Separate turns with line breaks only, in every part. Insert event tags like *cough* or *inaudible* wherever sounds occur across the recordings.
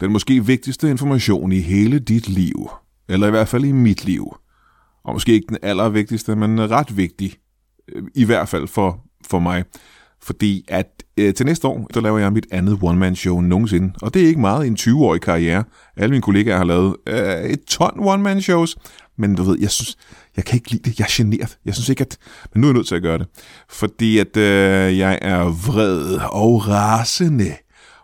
Den måske vigtigste information i hele dit liv, eller i hvert fald i mit liv. Og måske ikke den allervigtigste, men ret vigtig, øh, i hvert fald for, for mig. Fordi at øh, til næste år, der laver jeg mit andet one-man-show nogensinde. Og det er ikke meget i en 20-årig karriere. Alle mine kollegaer har lavet øh, et ton one-man-shows. Men du ved, jeg synes, jeg kan ikke lide det. Jeg er generet. Jeg synes ikke, at... Men nu er jeg nødt til at gøre det. Fordi at øh, jeg er vred og rasende.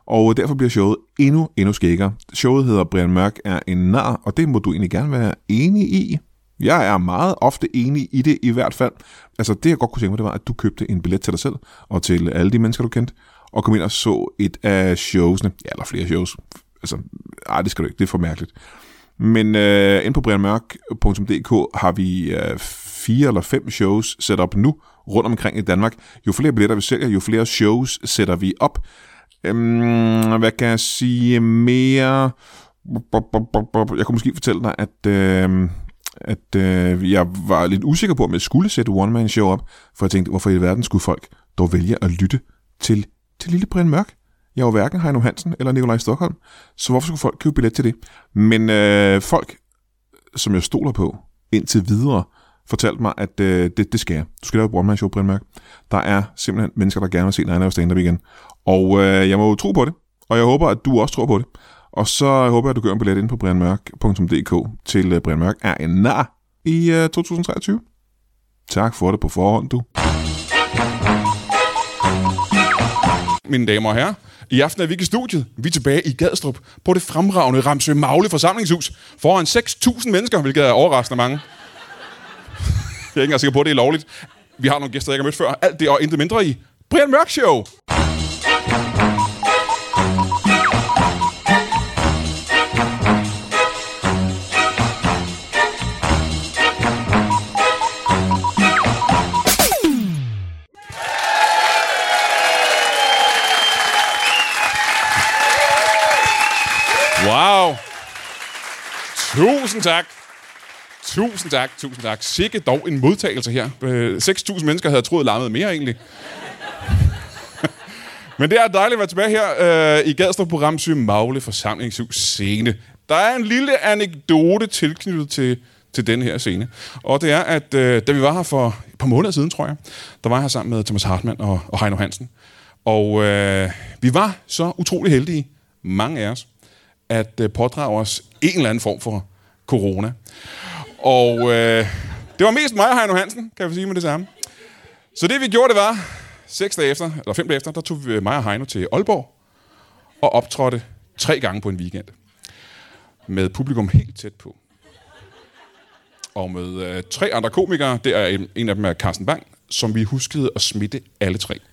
Og derfor bliver showet endnu, endnu skækkere. Showet hedder Brian Mørk er en nar, og det må du egentlig gerne være enig i. Jeg er meget ofte enig i det i hvert fald. Altså det jeg godt kunne tænke mig, det var, at du købte en billet til dig selv og til alle de mennesker, du kendte, og kom ind og så et af showsene, ja, eller flere shows. Altså, ej, det skal du ikke, det er for mærkeligt. Men øh, inde på brianmørk.dk har vi øh, fire eller fem shows sat op nu rundt omkring i Danmark. Jo flere billetter vi sælger, jo flere shows sætter vi op. Øhm, hvad kan jeg sige mere? Jeg kunne måske fortælle dig, at... Øh, at øh, jeg var lidt usikker på, om jeg skulle sætte One Man Show op, for jeg tænkte, hvorfor i verden skulle folk dog vælge at lytte til, til Lille Brian Mørk? Jeg var hverken Heino Hansen eller Nikolaj Stockholm, så hvorfor skulle folk købe billet til det? Men øh, folk, som jeg stoler på indtil videre, fortalte mig, at øh, det, det skal jeg. Du skal lave et One Man Show, Brian Mørk. Der er simpelthen mennesker, der gerne vil se dig lave stand-up igen. Og øh, jeg må jo tro på det, og jeg håber, at du også tror på det. Og så håber jeg, at du gør en billet ind på brianmørk.dk til øh, Brian Mørk er en nar i øh, 2023. Tak for det på forhånd, du.
mine damer og herrer. I aften er vi ikke i studiet. Vi er tilbage i Gadstrup på det fremragende Ramsø Magle forsamlingshus foran 6.000 mennesker, hvilket er overraskende mange. Jeg er ikke engang sikker på, at det er lovligt. Vi har nogle gæster, jeg ikke har mødt før. Alt det og intet mindre i Brian Mørk Show. Wow. Tusind tak. Tusind tak, tusind tak. Sikke dog en modtagelse her. Øh, 6.000 mennesker havde jeg troet larmede mere egentlig. *laughs* Men det er dejligt at være tilbage her øh, i Gadstrup på Ramsø Magle forsamlingshus scene. Der er en lille anekdote tilknyttet til, til den her scene. Og det er, at øh, da vi var her for et par måneder siden, tror jeg, der var jeg her sammen med Thomas Hartmann og, og Heino Hansen. Og øh, vi var så utrolig heldige, mange af os, at øh, pådrage os en eller anden form for corona. Og øh, det var mest mig og Heino Hansen, kan jeg sige med det samme. Så det vi gjorde, det var, seks dage efter, eller fem dage efter, der tog vi, øh, mig og Heino til Aalborg og optrådte tre gange på en weekend. Med publikum helt tæt på. Og med øh, tre andre komikere, der er en, en af dem er Carsten Bang, som vi huskede at smitte alle tre. *laughs*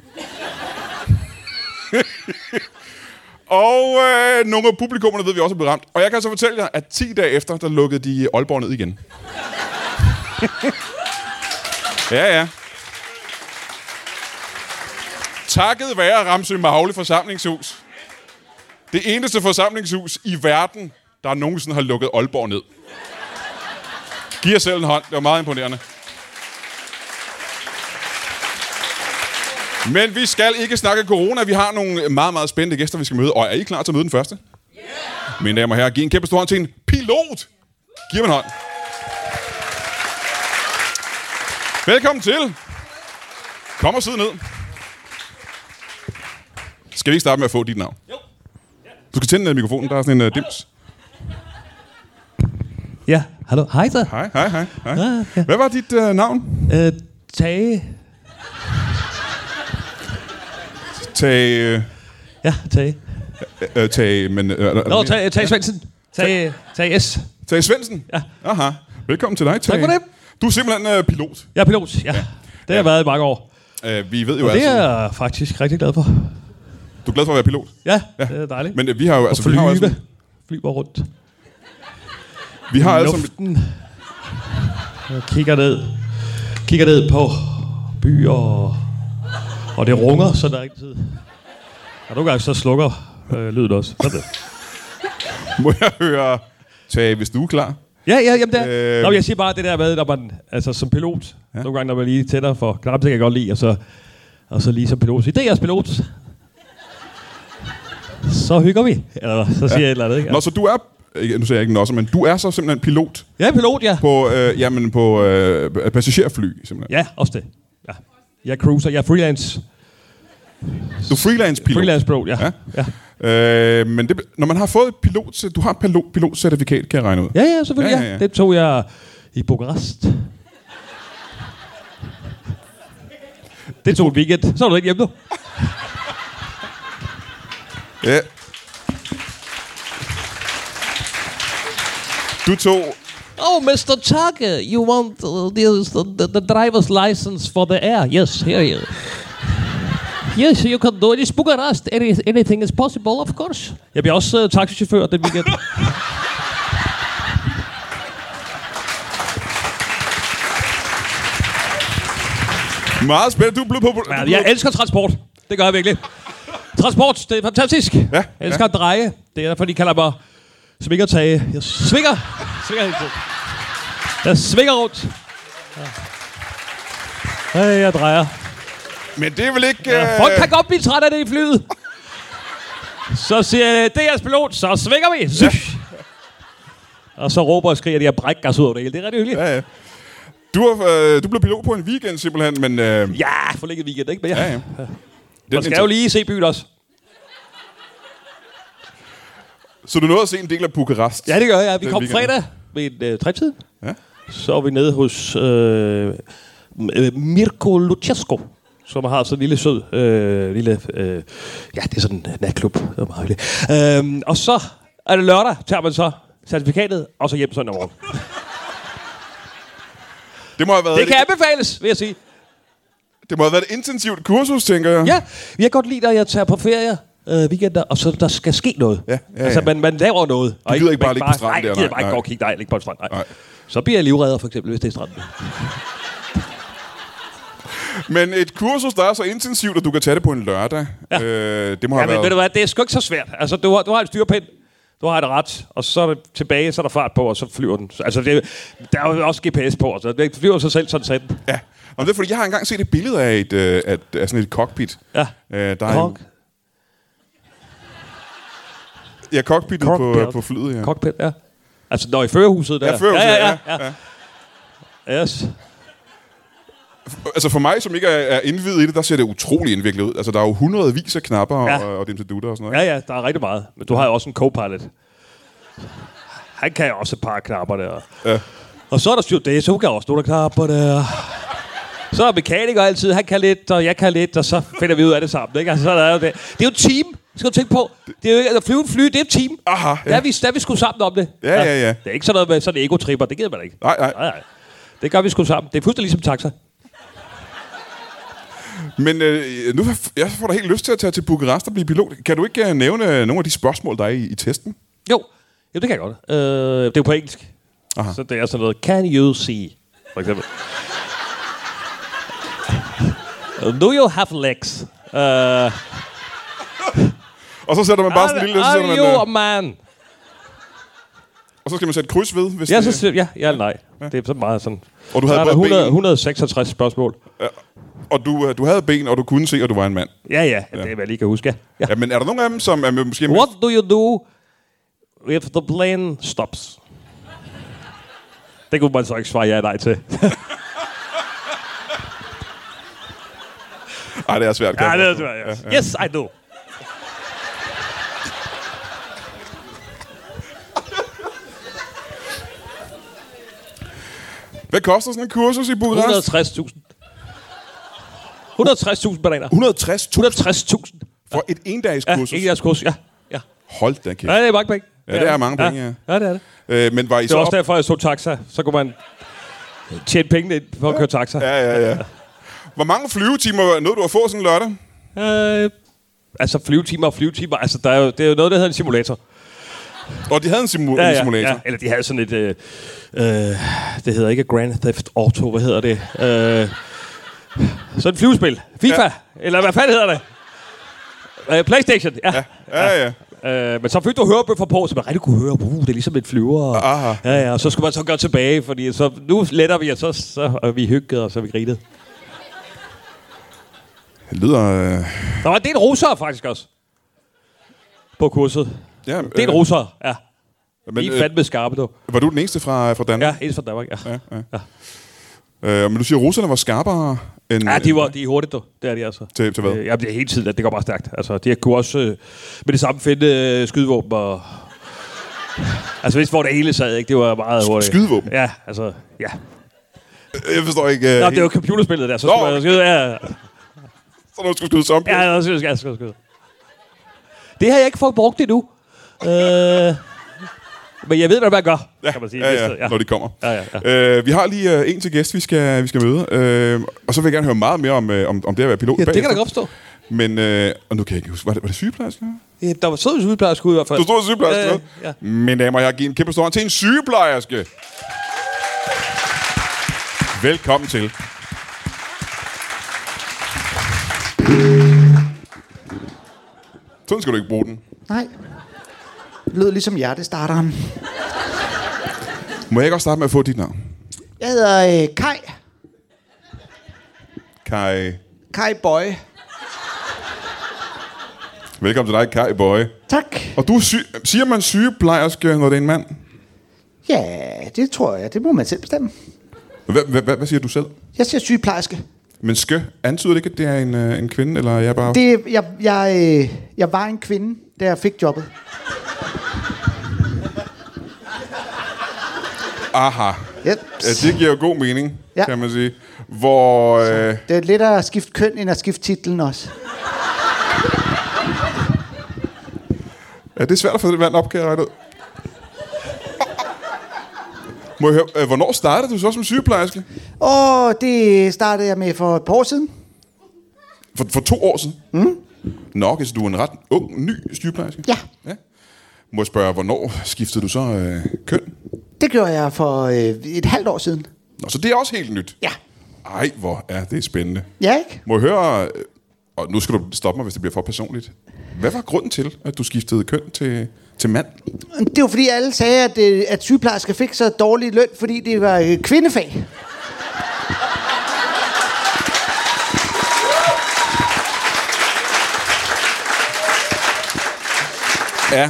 Og øh, nogle af publikummerne ved vi også er blevet ramt. Og jeg kan så fortælle jer, at 10 dage efter, der lukkede de Aalborg ned igen. ja, ja. Takket være Ramsø Magle forsamlingshus. Det eneste forsamlingshus i verden, der nogensinde har lukket Aalborg ned. Giv jer selv en hånd. Det var meget imponerende. Men vi skal ikke snakke corona. Vi har nogle meget, meget spændende gæster, vi skal møde. Og er I klar til at møde den første? Yeah! Mine damer og herrer, giv en kæmpe stor hånd til en pilot. Giv ham en hånd. Velkommen til. Kom og sid ned. Skal vi ikke starte med at få dit navn? Jo. Du skal tænde øh, mikrofonen, der er sådan en uh, dims.
Ja, hallo. Hej så.
Hej, hej, hej. hej.
Ah, ja.
Hvad var dit uh, navn?
Øh, Tage.
Tag...
Ja, Tage.
Øh, tag... Men, øh, er der-
Nå, Tage, Tage Svendsen. Tage, Tage S.
Tage Svendsen? Ja. Aha. Velkommen til dig, Tage.
for det.
Du er simpelthen øh, pilot.
Jeg er pilot, ja. Det har jeg været i mange år.
Øh, vi ved jo
Det
altså...
er jeg faktisk rigtig glad for.
Du er glad for at være pilot.
Ja, det er dejligt.
Men øh, vi har jo... Altså, vi
flyve.
har, jo altså,
Flyver rundt.
vi har
I
altså
luften. Jeg kigger ned. Kigger ned på byer. og- Og det runger, så der er ikke tid. Og nogle gange så slukker øh, lyden også. Sådan der.
*laughs* Må jeg høre... Tage, hvis du er klar.
Ja, ja, jamen det er.
Øh.
Øh... Nå, men jeg siger bare det der med, når man, altså som pilot, ja. nogle gange, når man lige tænder for knap, det kan jeg godt lide, og så, og så lige som pilot sige, det er jeres pilot. så hygger vi. Eller så siger jeg et eller andet, ikke?
Nå, så du er... ikke- Nu siger jeg ikke også, men du er så simpelthen pilot
Jeg er pilot, ja.
på, øh, jamen, på øh, passagerfly, simpelthen.
Ja, også det. Ja. Jeg er cruiser, jeg er freelance.
Du er freelance-pilot.
Freelance pilot, ja.
Ja.
Ja, ja,
Øh, men det, når man har fået et pilot, du har pilot, pilotcertifikat, kan jeg regne ud.
ja, ja selvfølgelig.
Ja,
Ja,
ja,
ja,
ja.
Det tog jeg i *laughs* Bukarest. Det tog en weekend. Så er du ikke hjemme nu.
Ja. Du tog...
Oh, Mr. Chaka, you want uh, this, the, the driver's license for the air? Yes, here you. Yes, you can do it. It's Bucharest. Any, anything is possible, of course. Jeg bliver også uh, taxichauffør den *laughs* weekend.
Meget spændende. Du er blevet på... du er
ja,
blevet-
jeg elsker transport. Det gør jeg virkelig. Transport, det er fantastisk. Ja, jeg elsker ja. at dreje. Det er derfor, de kalder mig svingertage. Jeg svinger. svinger hele tiden. Jeg svinger rundt. Ja. Hey, jeg drejer.
Men det er vel ikke... øh,
Ja, folk kan godt blive trætte af det i flyet. Så siger jeg, det er jeres pilot, så svinger vi. Ja. Og så råber og skriger de, jeg brækker os ud over det hele. Det er rigtig hyggeligt. Ja,
Ja, ja. Du, er, øh, du blev pilot på en weekend, simpelthen, men... Øh, ja,
ja forlænget weekend, ikke? Men ja,
ja.
ja, ja.
Den
Man skal jo lige se byen også.
Så du nåede at se en del af Bukarest?
Ja, det gør jeg. Vi
Den
kom
weekend.
fredag ved en øh, trætid.
Ja.
Så var vi nede hos øh, M- øh, Mirko Luchesco, som har sådan en lille sød, øh, lille, øh, ja, det er sådan en natklub. Det var meget hyggeligt. øhm, og så er det lørdag, tager man så certifikatet, og så hjem søndag morgen.
Det må have været,
Det kan
det,
anbefales, vil jeg sige.
det må have været et intensivt kursus, tænker jeg.
Ja, jeg kan godt lide, at jeg tager på ferie øh, weekender, og så der skal ske noget.
Ja, ja,
Altså,
ja.
man, man laver noget. Og
gider ikke bare
man
ligge på stranden der,
nej, Nej, jeg
nej,
gider bare ikke
nej.
gå og kigge. Nej, ligge på en strand. Nej.
Nej.
nej. Så bliver jeg livredder, for eksempel, hvis det er stranden.
Men et kursus, der er så intensivt, at du kan tage det på en lørdag, ja. øh, det må
Ja,
have
men ved
været...
du hvad, det er sgu ikke så svært. Altså, du har, du har en styrpind, du har et ret, og så er det tilbage, så er der fart på, og så flyver den. Så, Altså, det, der er jo også GPS på, så det flyver sig selv sådan set.
Ja. Nå, men det er fordi, jeg har engang set et billede af, et, øh, af, af sådan et cockpit.
Ja.
Øh, der er
Kok,
en- Ja, cockpittet på,
Cockpit.
på flyet, ja.
kokpit, ja. Altså, når i førerhuset der.
Ja, førerhuset,
ja,
ja,
ja, ja, ja. Yes.
Altså for mig, som ikke er, er indvidet i det, der ser det utrolig indviklet ud. Altså der er jo hundredvis af knapper ja.
Ja.
og, og dimsedutter og sådan noget.
Ja, ja, der er rigtig meget. Men du har jo også en co-pilot. Han kan jo også et par knapper der.
Ja.
Og så er der stewardess, hun kan også nogle af knapperne. og Så er der mekaniker altid, han kan lidt, og jeg kan lidt, og så finder vi ud af det sammen. Ikke? Altså, så er der jo det. det er jo et team, skal du tænke på. Det er jo ikke, at flyve en fly, det er et team.
Aha, ja.
ja. Der, er vi, der er vi sgu sammen om det.
Ja, ja, ja.
Det er ikke sådan noget med sådan en ego-tripper, det gider man ikke.
Nej, nej.
nej, nej. Det gør vi sgu sammen. Det er fuldstændig ligesom taxa.
Men øh, nu f- jeg får da helt lyst til at tage til Bukarest og blive pilot. Kan du ikke øh, nævne øh, nogle af de spørgsmål, der er i, i testen?
Jo, Jamen, det kan jeg godt. Øh, det er jo på engelsk.
Aha.
Aha. Så det er sådan noget, can you see, for eksempel. *laughs* Do you have legs? Uh, are,
Og så sætter man bare sådan en lille... Så sætter
are
man,
you a
øh,
man?
og så skal man sætte kryds ved, hvis
Ja,
det,
så, siger- ja, ja eller nej. Det er så meget sådan.
Og du havde
der er der
både
100,
ben-
166 spørgsmål.
og du, øh, du havde ben, og du kunne se, at du var en mand.
Ja, ja, ja. det er, hvad jeg lige kan huske. Ja. Ja.
Ja, men er der nogen af dem, som er med- måske...
What do you do if the plane stops? Det kunne man så ikke svare ja eller nej til. *laughs*
Ej, det er svært. kan
Ja,
jeg
det er
forstå.
svært, yes. Yes, I do.
Hvad koster sådan en kursus i Bukarest?
160.000. 160.000 bananer.
160
160.000.
for et endags
Ja,
kursus.
ikke jeres kurs, ja. Ja.
Hold da kæft.
ja, det er mange penge.
Ja, det er mange penge, ja.
Ja, det er det.
Øh, men var I
Det
så
var
op-
også derfor, jeg så taxa. Så kunne man tjene pengene ind for at køre taxa.
Ja, ja, ja. Hvor mange flyvetimer nåede du at få sådan en lørdag?
Øh, altså flyvetimer og flyvetimer. Altså, der er jo, det er jo noget, der hedder en simulator.
Og de havde en, simu- ja, ja, en simulator. Ja.
Eller de havde sådan et... Øh, øh, det hedder ikke Grand Theft Auto, hvad hedder det? Øh, sådan et flyvespil. FIFA, ja. eller hvad fanden hedder det? Øh, Playstation, ja. ja.
Ja, ja.
Øh, men så fik du hørebøffer på, så man rigtig kunne høre, uh, det er ligesom et flyver.
Aha.
Ja, ja, og så skulle man så gøre tilbage, fordi så, nu letter vi, og så, så og vi hyggede, og så vi grinede.
Det lyder... Øh...
Der var en del russere faktisk også.
på kurset.
Ja,
Det er en russer, ja. Men,
Øh. Men,
I er
øh,
fandme skarpe, du.
Var du den eneste fra, fra Danmark?
Ja, ens fra Danmark, ja.
Ja, ja. Øh, men du siger, at russerne var skarpere end...
Ja, de, var, de er hurtigt, du. Det er de altså.
øh, Til- til hvad?
Øh, jamen, det er hele tiden, at det går bare stærkt. Altså, de kunne også øh, med det samme finde øh, skydevåben og... altså, hvis hvor det hele sad, ikke? Det var meget hurtigt.
skydevåben?
Ja, altså, ja.
Jeg forstår ikke... Øh,
Nå, det var computerspillet der, så
Nå,
skulle man skyde. Ja, ja,
Så når du skulle skyde zombie.
ja, ja, så skulle jeg skyde. Det har jeg ikke fået brugt endnu. øh, men jeg ved, hvad man gør, ja, kan man sige.
Ja,
Hvis
ja,
det-
ja, når de kommer.
Ja, ja,
Øh, vi har lige øh, en til gæst, vi skal, vi skal møde. Øh, og så vil jeg gerne høre meget mere om, øh, om, om det at være pilot.
ja, det kan da
bagefter.
godt forstå.
Men, øh, og nu kan jeg ikke huske, var det, var det sygeplejerske?
Ja, Der var sød sygeplejerske ud i hvert fald.
Du stod sygeplejerske.
Øh,
Øh, ja. Mine damer og herrer, giv en kæmpe stor hånd til en sygeplejerske. Velkommen til. Sådan skal du ikke bruge den.
Nej. Det lyder ligesom hjertestarteren.
Må jeg ikke også starte med at få dit navn?
Jeg hedder øh, Kai.
Kai.
Kai Boy.
Velkommen til dig, Kai Bøje.
Tak.
Og du er syg... siger man sygeplejerske, når det er en mand?
Ja, det tror jeg. Det må man selv bestemme.
Hvad, hvad, hvad, hvad siger du selv?
Jeg siger sygeplejerske.
Men skø, antyder det ikke, at det er en, øh, en kvinde, eller jeg er bare...
Det, jeg, jeg, øh, jeg var en kvinde, da jeg fik jobbet.
Aha.
Yep.
Ja, det giver jo god mening, ja.
Ja.
kan man sige. Hvor... Øh,
Det er lidt at skifte køn, end at skifte titlen også.
ja, det er svært at få det vand op, kan jeg regne ud. Må jeg høre, øh, hvornår startede du så som sygeplejerske?
Og det startede jeg med for et par år siden.
For, for to år siden? Mm. Nå, okay, så du er en ret ung, ny sygeplejerske?
Ja.
ja. Må jeg spørge, hvornår skiftede du så øh, køn?
Det gjorde jeg for øh, et halvt år siden.
Nå, så det er også helt nyt.
Ja.
Ej, hvor er det spændende.
Ja, ikke?
Må jeg høre, øh, og nu skal du stoppe mig, hvis det bliver for personligt. Hvad var grunden til, at du skiftede køn til, til mand?
Det var fordi alle sagde, at, øh, at sygeplejersker fik så dårlig løn, fordi det var øh, kvindefag.
Ja.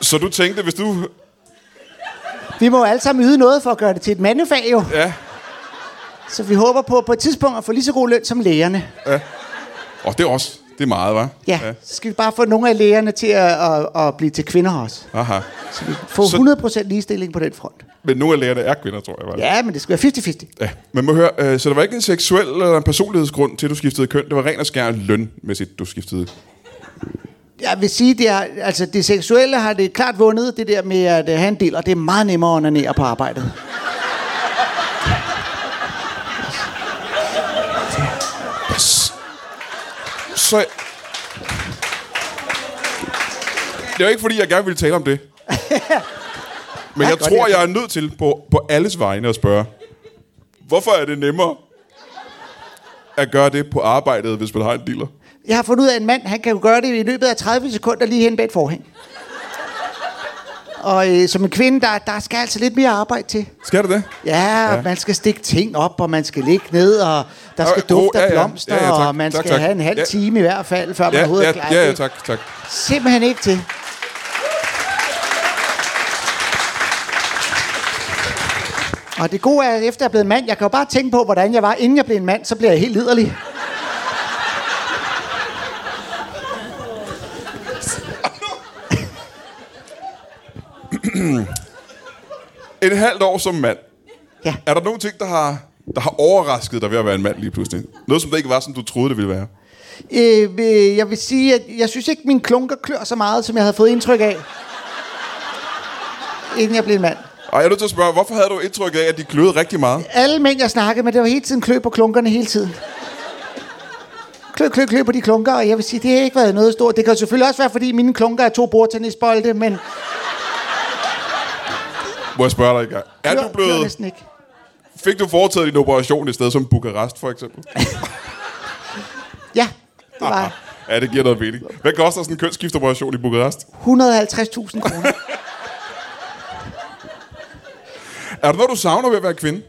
Så du tænkte, hvis du...
Vi må jo alle sammen yde noget for at gøre det til et mandefag jo.
Ja.
Så vi håber på på et tidspunkt at få lige så god løn som lægerne.
Og det er også... Det er meget, hva'?
Ja, ja. så skal vi bare få nogle af lægerne til at, at, at blive til kvinder også.
Aha.
Så vi får
Så-
100% ligestilling på den front.
Men nogle af lærerne er kvinder, tror jeg. Var.
Ja, men det skal være 50-50.
ja. Men må jeg høre, øh, så der var ikke en seksuel eller en personlighedsgrund til, at du skiftede køn. Det var ren og skær lønmæssigt, du skiftede.
Jeg vil sige, det er, altså det seksuelle har det klart vundet, det der med at øh, have en del, og det er meget nemmere at onanere på arbejdet.
Så... Det er jo ikke, fordi jeg gerne ville tale om
*laughs*
det. Men
Ja,
jeg
godt,
tror,
jeg-
jeg er nødt til på, på alles vegne at spørge. Hvorfor er det nemmere at gøre det på arbejdet, hvis man har en dealer?
Jeg har fundet ud af, at en mand han kan jo gøre det i løbet af 30 sekunder lige hen bag et forhæng. Og øh, som en kvinde, der, der skal altså lidt mere arbejde til.
Skal det det?
Ja, ja, man skal stikke ting op, og man skal ligge ned, og der skal
Øh,
dufte
åh, ja,
af
ja.
blomster,
Ja, ja, tak.
og man
Tak,
skal
tak.
have en halv
Ja.
time i hvert fald, før man
Ja,
overhovedet er
ja,
klar.
ja, ja
Det
tak, tak.
Simpelthen ikke til. Og det gode er, at efter jeg er blevet mand, jeg kan jo bare tænke på, hvordan jeg var, inden jeg blev en mand, så bliver jeg helt liderlig.
En halvt år som mand.
Ja.
Er der nogle ting, der har, der har overrasket dig ved at være en mand lige pludselig? Noget, som det ikke var, som du troede, det ville være?
Øh, øh, jeg vil sige, at jeg synes ikke, min klunker klør så meget, som jeg havde fået indtryk af, inden jeg blev en mand.
Og jeg er nødt til at spørge, hvorfor havde du indtryk af, at de kløede rigtig meget?
Alle mænd, jeg snakkede med, det var hele tiden klø på klunkerne hele tiden. Klø, klø, klø på de klunker, og jeg vil sige, det har ikke været noget stort. Det kan selvfølgelig også være, fordi mine klunker er to bordtennisbolde, men
Må jeg spørge dig i gang? Er du
klør
blevet,
næsten ikke.
fik du foretaget din operation et sted som Bukarest, for eksempel?
Ja, det var
Ja, det giver noget mening. Hvad koster sådan en kønsskiftoperation i Bukarest?
150.000 kroner.
Er der noget, du savner ved at være kvinde?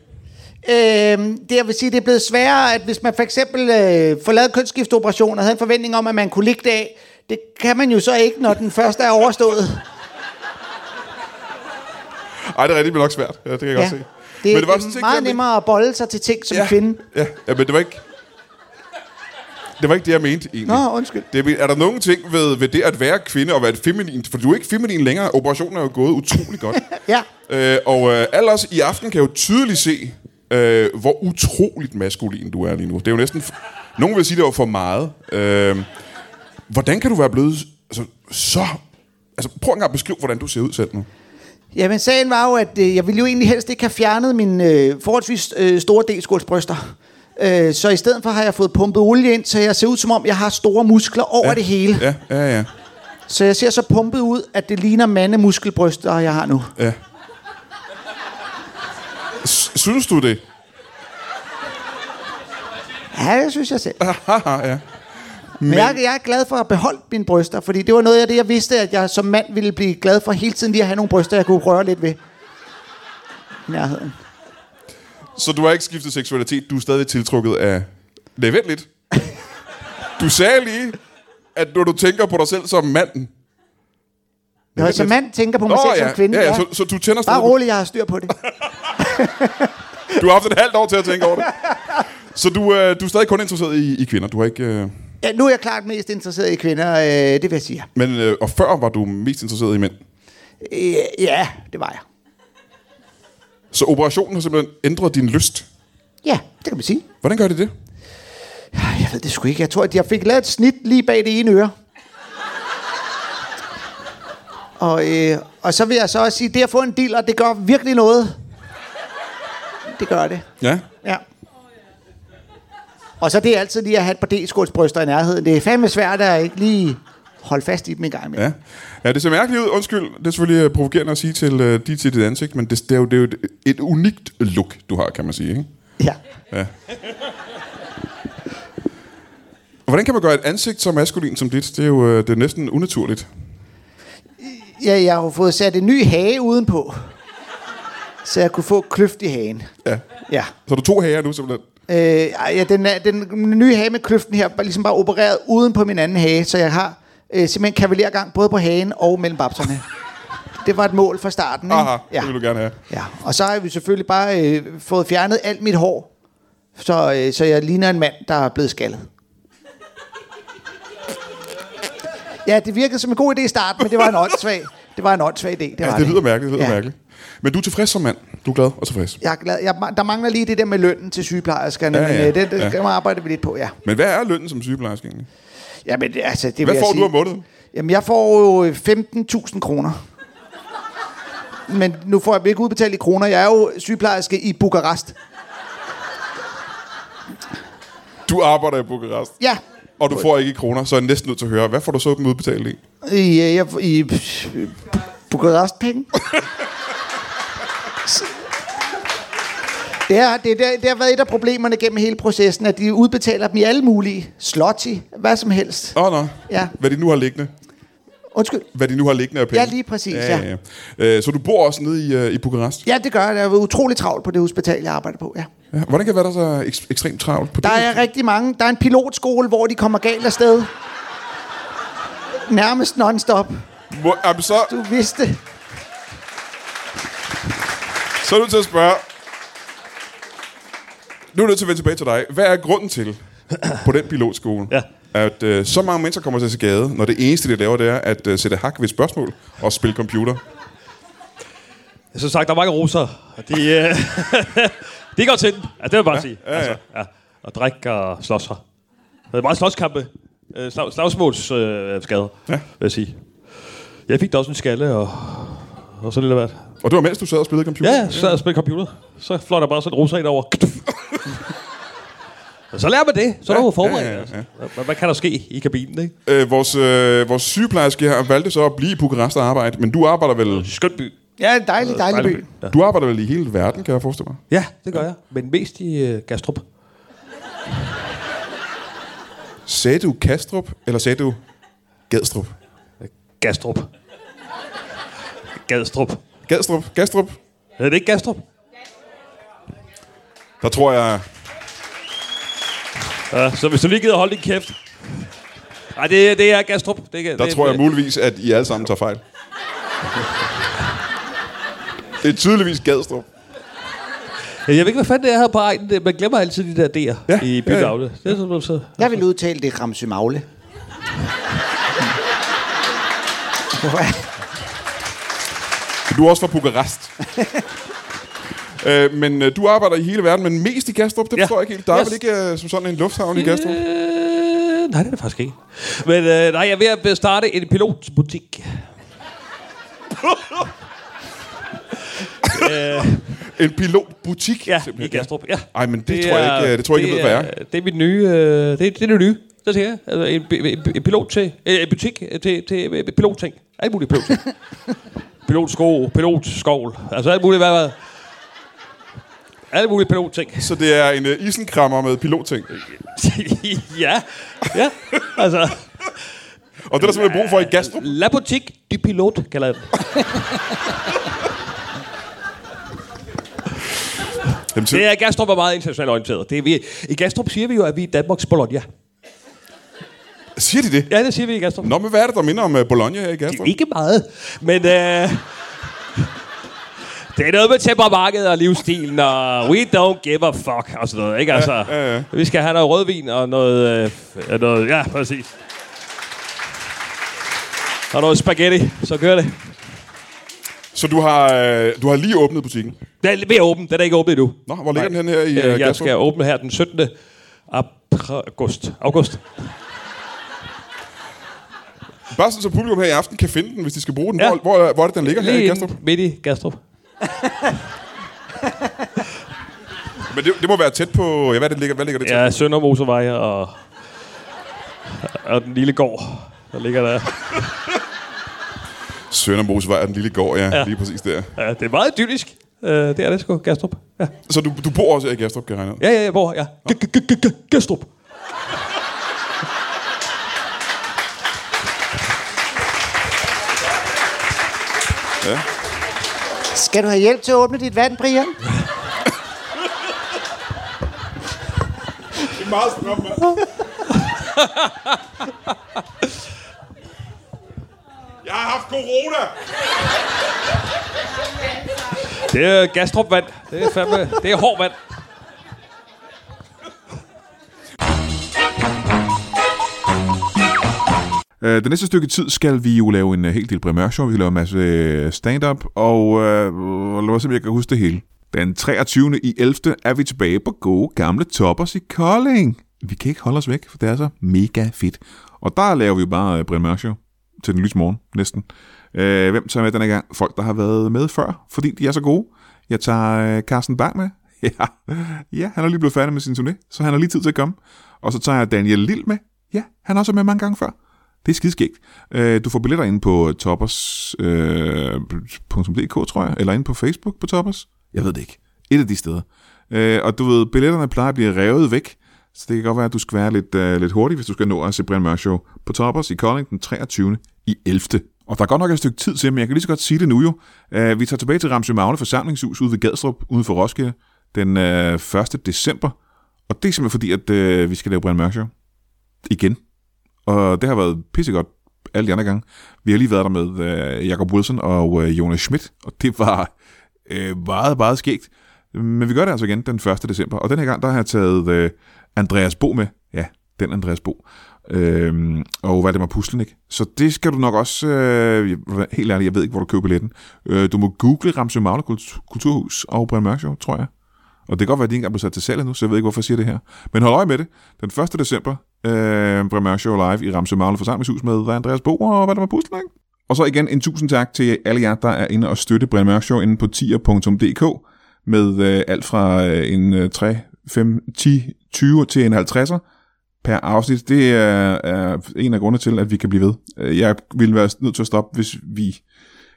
Øhm, det jeg vil sige, det er blevet sværere, at hvis man for eksempel øh, får lavet kønsskiftoperationer, havde en forventning om, at man kunne ligge det af, Det kan man jo så ikke, når den første er overstået.
Ej, det er rigtigt, det bliver nok svært. Ja, det kan jeg godt se.
Det,
Men det var
det
sådan
er
set
meget
ikke-
nemmere at bolde sig til ting som
ja,
kvinde.
Ja, ja, men det var ikke... Det var ikke det, jeg mente, egentlig.
Nå, undskyld.
Det, er- er der nogen ting ved, ved det at være kvinde og være et feminin? For du er ikke feminin længere. Operationen er jo gået utrolig godt.
*laughs* Ja.
øh, og øh, alle os i aften kan jo tydeligt se, øh, hvor utroligt maskulin du er lige nu. Det er jo næsten... f- Nogen vil sige, det var for meget. Øh, hvordan kan du være blevet altså, så... Altså, prøv engang at beskrive, hvordan du ser ud selv nu.
Jamen, sagen var jo, at øh, jeg ville jo egentlig helst ikke have fjernet min øh, forholdsvis øh, store delskålsbryster. Øh, så i stedet for har jeg fået pumpet olie ind, så jeg ser ud som om, jeg har store muskler over ja. det hele. Ja.
Ja, ja, ja.
Så jeg ser så pumpet ud, at det ligner mandemuskelbryster, jeg har nu.
Ja. S- Synes du det? *laughs*
Ja, det synes jeg selv.
Haha, ja.
Men jeg, jeg er glad for at beholde mine bryster, fordi det var noget af det, jeg vidste, at jeg som mand ville blive glad for hele tiden lige at have nogle bryster, jeg kunne røre lidt ved. I Nærheden.
Så du har ikke skiftet seksualitet, du er stadig tiltrukket af... Nej, vent lidt. Du sagde lige, at når du tænker på dig selv som manden...
Når jeg som mand tænker på mig selv
ja.
som kvinde,
ja, ja. Så, så du tænder
Bare
stadig... på-
rolig, jeg har styr på det.
Du har haft et halvt år til at tænke over det. Så du, øh, du er stadig kun interesseret i, i kvinder. Du har ikke... Øh...
Ja, nu er jeg klart mest interesseret i kvinder, øh, det vil jeg sige.
Men, øh, og før var du mest interesseret i mænd.
Øh, ja, det var jeg.
Så operationen har simpelthen ændret din lyst.
Ja, det kan man sige.
Hvordan gør det det?
Ej, Jeg ved det sgu ikke. Jeg tror, at jeg fik lavet et snit lige bag det ene øre. Og, øh, og så vil jeg så også sige, det at få en dealer, det gør virkelig noget. Det gør det,
Ja.
ja. Og så det er altid lige at have et par D-skålsbryster i nærheden. Det er fandme svært at ikke lige holde fast i dem en gang imellem.
Ja. ja, det ser mærkeligt ud. Undskyld, det er selvfølgelig øh, provokerende at sige til, øh, de, til dit ansigt, men det, det er jo, det er jo et, et unikt look, du har, kan man sige. Ikke?
Ja.
Og Hvordan kan man gøre et ansigt så maskulin som dit? Det er jo øh, det er næsten unaturligt.
ja. jeg har jo fået sat en ny hage udenpå. Så jeg kunne få kløft i hagen.
Ja. Mm.
Ja.
Så er du to hager nu simpelthen.
Øh, ej, ja, den, er, den nye hage med kløften her var ligesom bare opereret uden på min anden hage, så jeg har øh, simpelthen kavalergang både på hagen og mellem babserne. Det var et mål fra starten, ikke?
Aha, ja.
ja.
det vil du gerne have.
ja. Og så har vi selvfølgelig bare øh, fået fjernet alt mit hår, så, øh, så jeg ligner en mand, der er blevet skaldet. Ja, det virkede som en god idé i starten, men det var en åndssvag, det var en åndssvag idé. Det,
Ja,
var
det lyder mærkeligt, det lyder
Ja.
ja. mærkeligt. Men du er tilfreds som mand. Du er glad og tilfreds.
Jeg er glad. Jeg, der mangler lige det der med lønnen til sygeplejerskerne,
Ja,
ja, ja,
ja,
men øh, det, det
ja.
ja. arbejder vi lidt på, ja.
Men hvad er lønnen som sygeplejerske egentlig?
Jamen, altså, det vil
Hvad
jeg
får
sige.
du om måneden?
Jamen, jeg får jo 15.000 kroner. Men nu får jeg dem ikke udbetalt i kroner. Jeg er jo sygeplejerske i Bukarest.
Du arbejder i Bukarest,
Ja,
og du får ikke i kroner, så er jeg næsten nødt til at høre, hvad får du så dem udbetalt i?
i, øh, jeg, i øh, Bukarest-penge. Det, er, det, er, det har været et af problemerne gennem hele processen, at de udbetaler dem i alle mulige. Slotti, hvad som helst.
Åh, oh, nej.
Ja.
Hvad de nu har liggende.
Undskyld.
Hvad de nu har liggende af penge.
Ja, lige præcis,
ja. ja. Øh, Så du bor også nede i, øh, i Bukarest?
Ja, det gør jeg. Jeg har været utrolig travlt på det hospital, jeg arbejder på, ja.
Ja. Hvordan kan det være, der er så ek- ekstremt travlt på
Der
det?
er rigtig mange. Der er en pilotskole, hvor de kommer galt afsted. Nærmest non-stop.
Må, jamen, så,
Du vidste.
så er du til at spørge. Nu er jeg nødt til at vende tilbage til dig. Hvad er grunden til på den pilotskole,
Ja.
at øh, så mange mennesker kommer til skade, når det eneste, de laver, det er at øh, sætte hak ved et spørgsmål og spille computer?
Som sagt, der er mange roser. Og de, øh, *laughs* de går til den. Ja, det vil jeg bare ja, sige.
ja, ja.
Altså, ja. Og drikke og slås sig. Det er meget slåskampe. Øh, Slag, slagsmålsskader, øh, skader,
Ja.
vil jeg sige. Jeg fik da også en skalle og, og sådan lidt af hvert.
Og det var mens du sad og spillede computer?
Ja, så sad jeg og spillede computer. Så fløj der bare sådan en rosa ind over. *laughs* Og så lærer man det. Så er du forberedt.
ja, ja, ja.
Altså. Hvad, hvad kan der ske i kabinen, ikke?
Øh, vores, øh, vores sygeplejerske her valgte så at blive i Bukarest og arbejde, men du arbejder vel
Skøn by.
Ja, en dejlig, dejlig by.
Ja.
du arbejder vel i hele verden, kan jeg forestille mig.
ja, det gør jeg. Men mest i øh, Gastrup.
Sagde du Kastrup, eller sagde du Gadstrup?
Gastrup. Gadstrup.
Gadstrup? Gastrup?
Hedder det ikke Gastrup?
Der tror jeg...
Ja, så hvis du lige gider holde din kæft.
Nej, det, det er Gastrup. Det, kan-
Der
det,
tror jeg muligvis, at I alle sammen tager fejl. Det er tydeligvis Gadstrup.
Jeg ved ikke, hvad fanden det er her på egen. Det- Man glemmer altid de der D'er
Ja,
ja, i
ja, ja.
bydavle. Det er sådan, så.
Jeg vil udtale det er Ramsø Magle.
Du er også fra
*laughs*
Bukarest. øh, men øh, du arbejder i hele verden, men mest i Gastrup, det ja.
Ja.
forstår jeg ikke helt. Der er
Yes.
vel ikke øh, som sådan en lufthavn i Gastrup?
Øh, nej, det er det faktisk ikke. Men øh, nej, jeg er ved at starte en pilotbutik.
En pilotbutik?
Ja, i
simpelthen.
Gastrup. Ja.
Ej, men det, det tror jeg ikke, øh, det tror jeg ikke, jeg ved, hvad er.
er. Det er mit nye... Øh, det, det er det nye. Så siger jeg. Altså, en, bi- en, bi- en pilot til... Øh, en butik øh, til, til øh, pilotting. Alt muligt
*laughs*
pilotting. pilotsko, pilotskovl. Altså alt muligt, hvad, hvad? Alt muligt pilotting. *laughs*
Så det er en øh, isenkrammer med pilotting.
ja, ja. Altså,
Og det er der simpelthen brug for i Gastrup.
La Boutique du Pilot, kalder jeg den.
Jamen, til,
Det er, Gastrup er meget internationalt orienteret. Det er, vi, I Gastrup siger vi jo, at vi er Danmarks Bologna.
Siger de det?
Ja, det siger vi i Gastrup.
Nå, men hvad er det, der minder om øh, Bologna her i Gastrup?
Ikke meget, men... Øh, *laughs* det er noget med temperamentet og livsstilen, og we don't give a fuck, og sådan noget, ikke? Altså,
ja, ja.
Vi skal have noget rødvin og noget... Øh, og noget ja, præcis. Og noget spaghetti, så kører det.
Så du har, øh, du har lige åbnet butikken.
Den er lidt mere åben, den er ikke åben endnu.
Nå, hvor ligger den hen her i øh,
Øh, jeg
Gastrup?
skal åbne her den 17. apr- august. august.
Bare sådan, så publikum her i aften kan finde den, hvis de skal bruge den.
Ja.
Hvor, hvor, hvor er det, den ligger her i
Lige
Gastrup?
inde midt i Gastrup.
Men det, det må være tæt på... Ja, hvad, det ligger, hvad ligger det til?
Ja, Sønder Mosevej og, og den lille gård, der ligger der.
Søndermosevej og den lille gård, ja, ja.
Ja.
Lige præcis der.
Ja, det er meget idyllisk. Øh, det er det sgu, Gastrup. Ja,
Så du, du bor også her i Gastrup, kan jeg regne ud?
ja, ja, ja hvor? Ja. G- g- g- g- g- Gastrup.
Skal du have hjælp til at åbne dit vand, Brian?
Det er meget stramt,
*laughs*
mand. Jeg har haft corona!
Det er Gastrup vand. Det er fandme, det er hård vand.
Øh, det næste stykke tid skal vi jo lave en øh, hel del primærshow. Vi skal lave en masse øh, stand-up, og øh, lad mig se, om jeg kan huske det hele. Den 23. i 11. er vi tilbage på gode gamle toppers i Kolding. Vi kan ikke holde os væk, for det er så mega fedt. Og der laver vi jo bare øh, Brian Mørk Show til den lyse morgen, næsten. Øh, hvem tager med denne gang? Folk, der har været med før, fordi de er så gode. Jeg tager øh, Carsten Bang med. *laughs* Ja. ja, han er lige blevet færdig med sin turné, så han har lige tid til at komme. Og så tager jeg Daniel Lille med. Ja, han har også været med mange gange før. Det er skideskægt. Øh, Du får billetter ind på toppers.dk, øh, tror jeg, eller ind på Facebook på Toppers. Jeg ved det ikke. Et af de steder. Øh, Og du ved, billetterne plejer at blive revet væk, så det kan godt være, at du skal være lidt, øh, lidt hurtig, hvis du skal nå at se Brian Mørk Show på Toppers i Kolding den 23. i 11. Og der er godt nok et stykke tid til, men jeg kan lige så godt sige det nu jo. Øh, Vi tager tilbage til Ramsø Magle forsamlingshus ude ved Gadstrup, uden for Roskilde, den øh, 1. december. Og det er simpelthen fordi, at øh, vi skal lave Brian Mørk Show. Igen. Og det har været pissegodt alle de andre gange. Vi har lige været der med øh, Jacob Wilson og øh, Jonas Schmidt, og det var øh, meget, meget skægt. Men vi gør det altså igen den 1. december, og den her gang, der har jeg taget øh, Andreas Bo med. Ja, den Andreas Bo. Øhm, og Valdemar Puslenik. Så det skal du nok også... Øh, jeg- helt ærligt, jeg ved ikke, hvor du køber billetten. Øh, du må google Ramsø Magle Kultur- Kulturhus og Brian Mørk Show, tror jeg. Og det kan godt være, at de ikke engang blev sat til salg endnu, så jeg ved ikke, hvorfor jeg siger det her. Men hold øje med det. Den 1. december, øh, Brian Mørk Show live i Ramse Magle Forsamlingshus med Andreas Bo og hvad der var puslet, ikke? Og så igen en tusind tak til alle jer, der er inde og støtte Brian Mørk Show inde på tier.dk med øh, alt fra øh, en øh, 3, 5, 10, 20 til en 50'er per afsnit. Det er, er en af grundene til, at vi kan blive ved. Øh, Jeg ville være nødt til at stoppe, hvis vi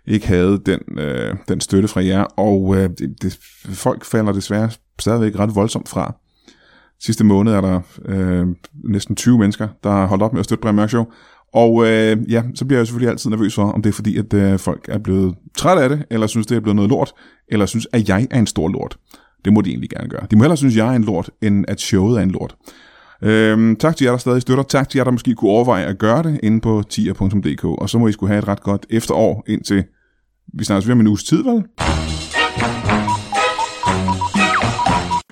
ikke havde den, øh, den støtte fra jer, og øh, det, det, folk falder desværre stadigvæk ret voldsomt fra. Sidste måned er der øh, næsten 20 mennesker, der har holdt op med at støtte Brian Mørk Show, og øh, ja, så bliver jeg selvfølgelig altid nervøs for, om det er fordi, at øh, folk er blevet trætte af det, eller synes, det er blevet noget lort, eller synes, at jeg er en stor lort. Det må de egentlig gerne gøre. De må hellere synes, at jeg er en lort, end at showet er en lort. Øhm, tak til jer, der stadig støtter. Tak til jer, der måske kunne overveje at gøre det inde på tier.dk. Og så må I skulle have et ret godt efterår indtil... Vi snakkes ved om en uges tid, vel?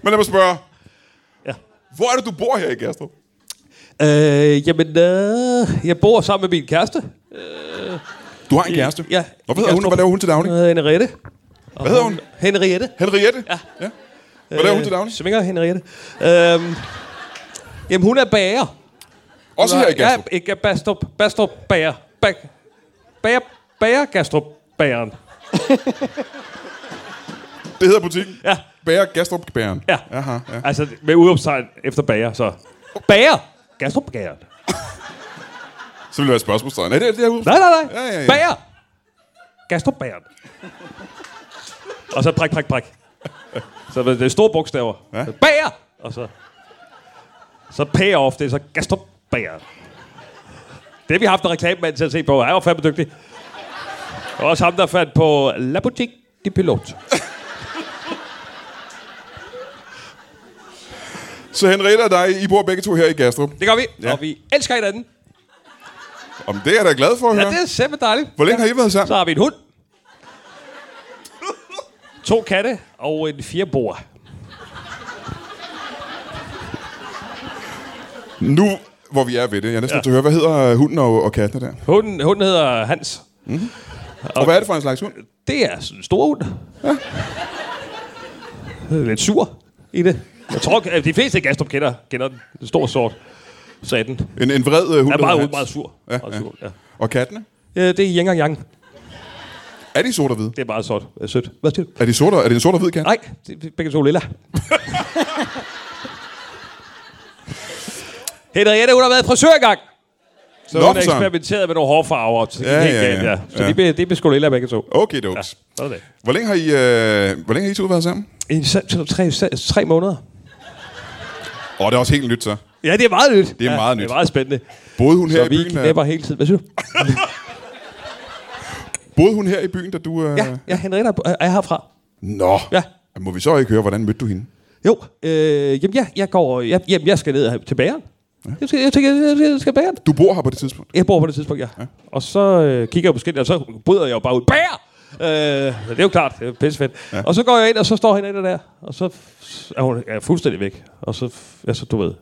Men lad mig spørge.
Ja.
Hvor er det, du bor her i Gerstrup?
Øh, jamen, øh, jeg bor sammen med min kæreste.
Du har en kæreste?
Ja.
Hvad hedder hun?
Gerstrup.
Hvad laver hun til daglig?
Hun hedder Henriette.
Hvad hedder hun?
Henriette.
Henriette? Ja. ja. Hvad laver hun
Øh,
til daglig?
Svinger Henriette. Øhm, jamen, hun er bager.
Også her i Gerstrup?
Ja, ikke Bastrup. Bastrup bager. Bag, bager, bager Gastrup bageren.
Det hedder butikken?
Ja.
Bærer Gerstrup Bæren.
Ja.
Aha, ja.
Altså, med udopstegn efter bager, så. Bager! Gastrup bageren.
Så vil det være et spørgsmålstegn. Er det det her ud?
Nej, nej, nej.
Ja, ja, ja.
Bager! Gastrup bageren. Og så prik, prik, prik. Så det er store bogstaver.
Ja.
Ja. Bager! Og så... Så payoff, det er så Gastrup bageren. Det har vi haft en reklamemand til at se på. Han var fandme dygtig. Og også ham, der fandt på La Boutique de Pilot.
Så Henriette og dig, I bor begge to her i Gerstrup.
Det gør vi,
Ja.
ja. og vi elsker hinanden.
Om det er jeg da glad for at
Ja,
høre.
det er simpelthen dejligt.
Hvor længe har I været sammen?
Så har vi en hund. To katte og en fireboer.
Nu, hvor vi er ved det. Jeg er næsten ja. til at høre, hvad hedder øh, hunden og, og kattene der?
Hunden, hunden hedder Hans.
Og hvad er det for en slags hund?
Det er sådan en stor hund. Ja. Lidt sur i det. Jeg tror, at de fleste Gastrup kender, kender den. Den store sort. Sagde den. Den
En, en vred øh, hund?
er
der hedder
meget,
Hans.
meget sur.
Ja,
meget
ja.
sur ja.
Og kattene?
Ja, det er Yang og Yang.
Er de sort og hvide?
Det er meget sort. Det er sødt. Hvad siger du?
Er, de sort og, er det en sort og hvid kat?
Nej, det er begge to lilla. Henriette, hun har været i frisør engang. Så
Nå,
hun har
for søren.
eksperimenteret med nogle hårfarver. Så det
Ja,
ja, helt
ja,
ja,
ja.
galt, ja. Så
Ja.
ja. de, blev, de blev sgu lilla begge to.
Okay, det
Ja,
er
sådan er det.
Hvor længe har I, øh, hvor længe har I to været sammen?
I så- så- tre, så- tre måneder.
Åh, oh, det er også helt nyt, så.
Ja, det er meget nyt.
Det er
ja,
meget
Det
nyt.
er meget spændende.
Boede hun, her
Så
i
vi
byen,
knæpper
øh,
hele tiden. Hvad siger du?
boede hun her i byen, da du... Øh...
Ja, ja Henriette er- er herfra.
Nå.
Ja.
Må vi så ikke høre, hvordan mødte du hende?
Jo, øh, jamen, jeg, jeg går... Jeg, jamen, jeg skal ned til bageren. Jeg skal, jeg, skal, jeg, skal, jeg skal bageren.
Du bor her på det tidspunkt.
Jeg bor på det tidspunkt, ja. ja. Og så øh, kigger jeg på skiltet, og så bryder jeg jo bare ud. Bærer! Øh, så det er jo klart, det er pissefedt. Ja. Og så går jeg ind, og så står hende der, og så f- er hun er fuldstændig væk. Og så, f- ja, så du ved,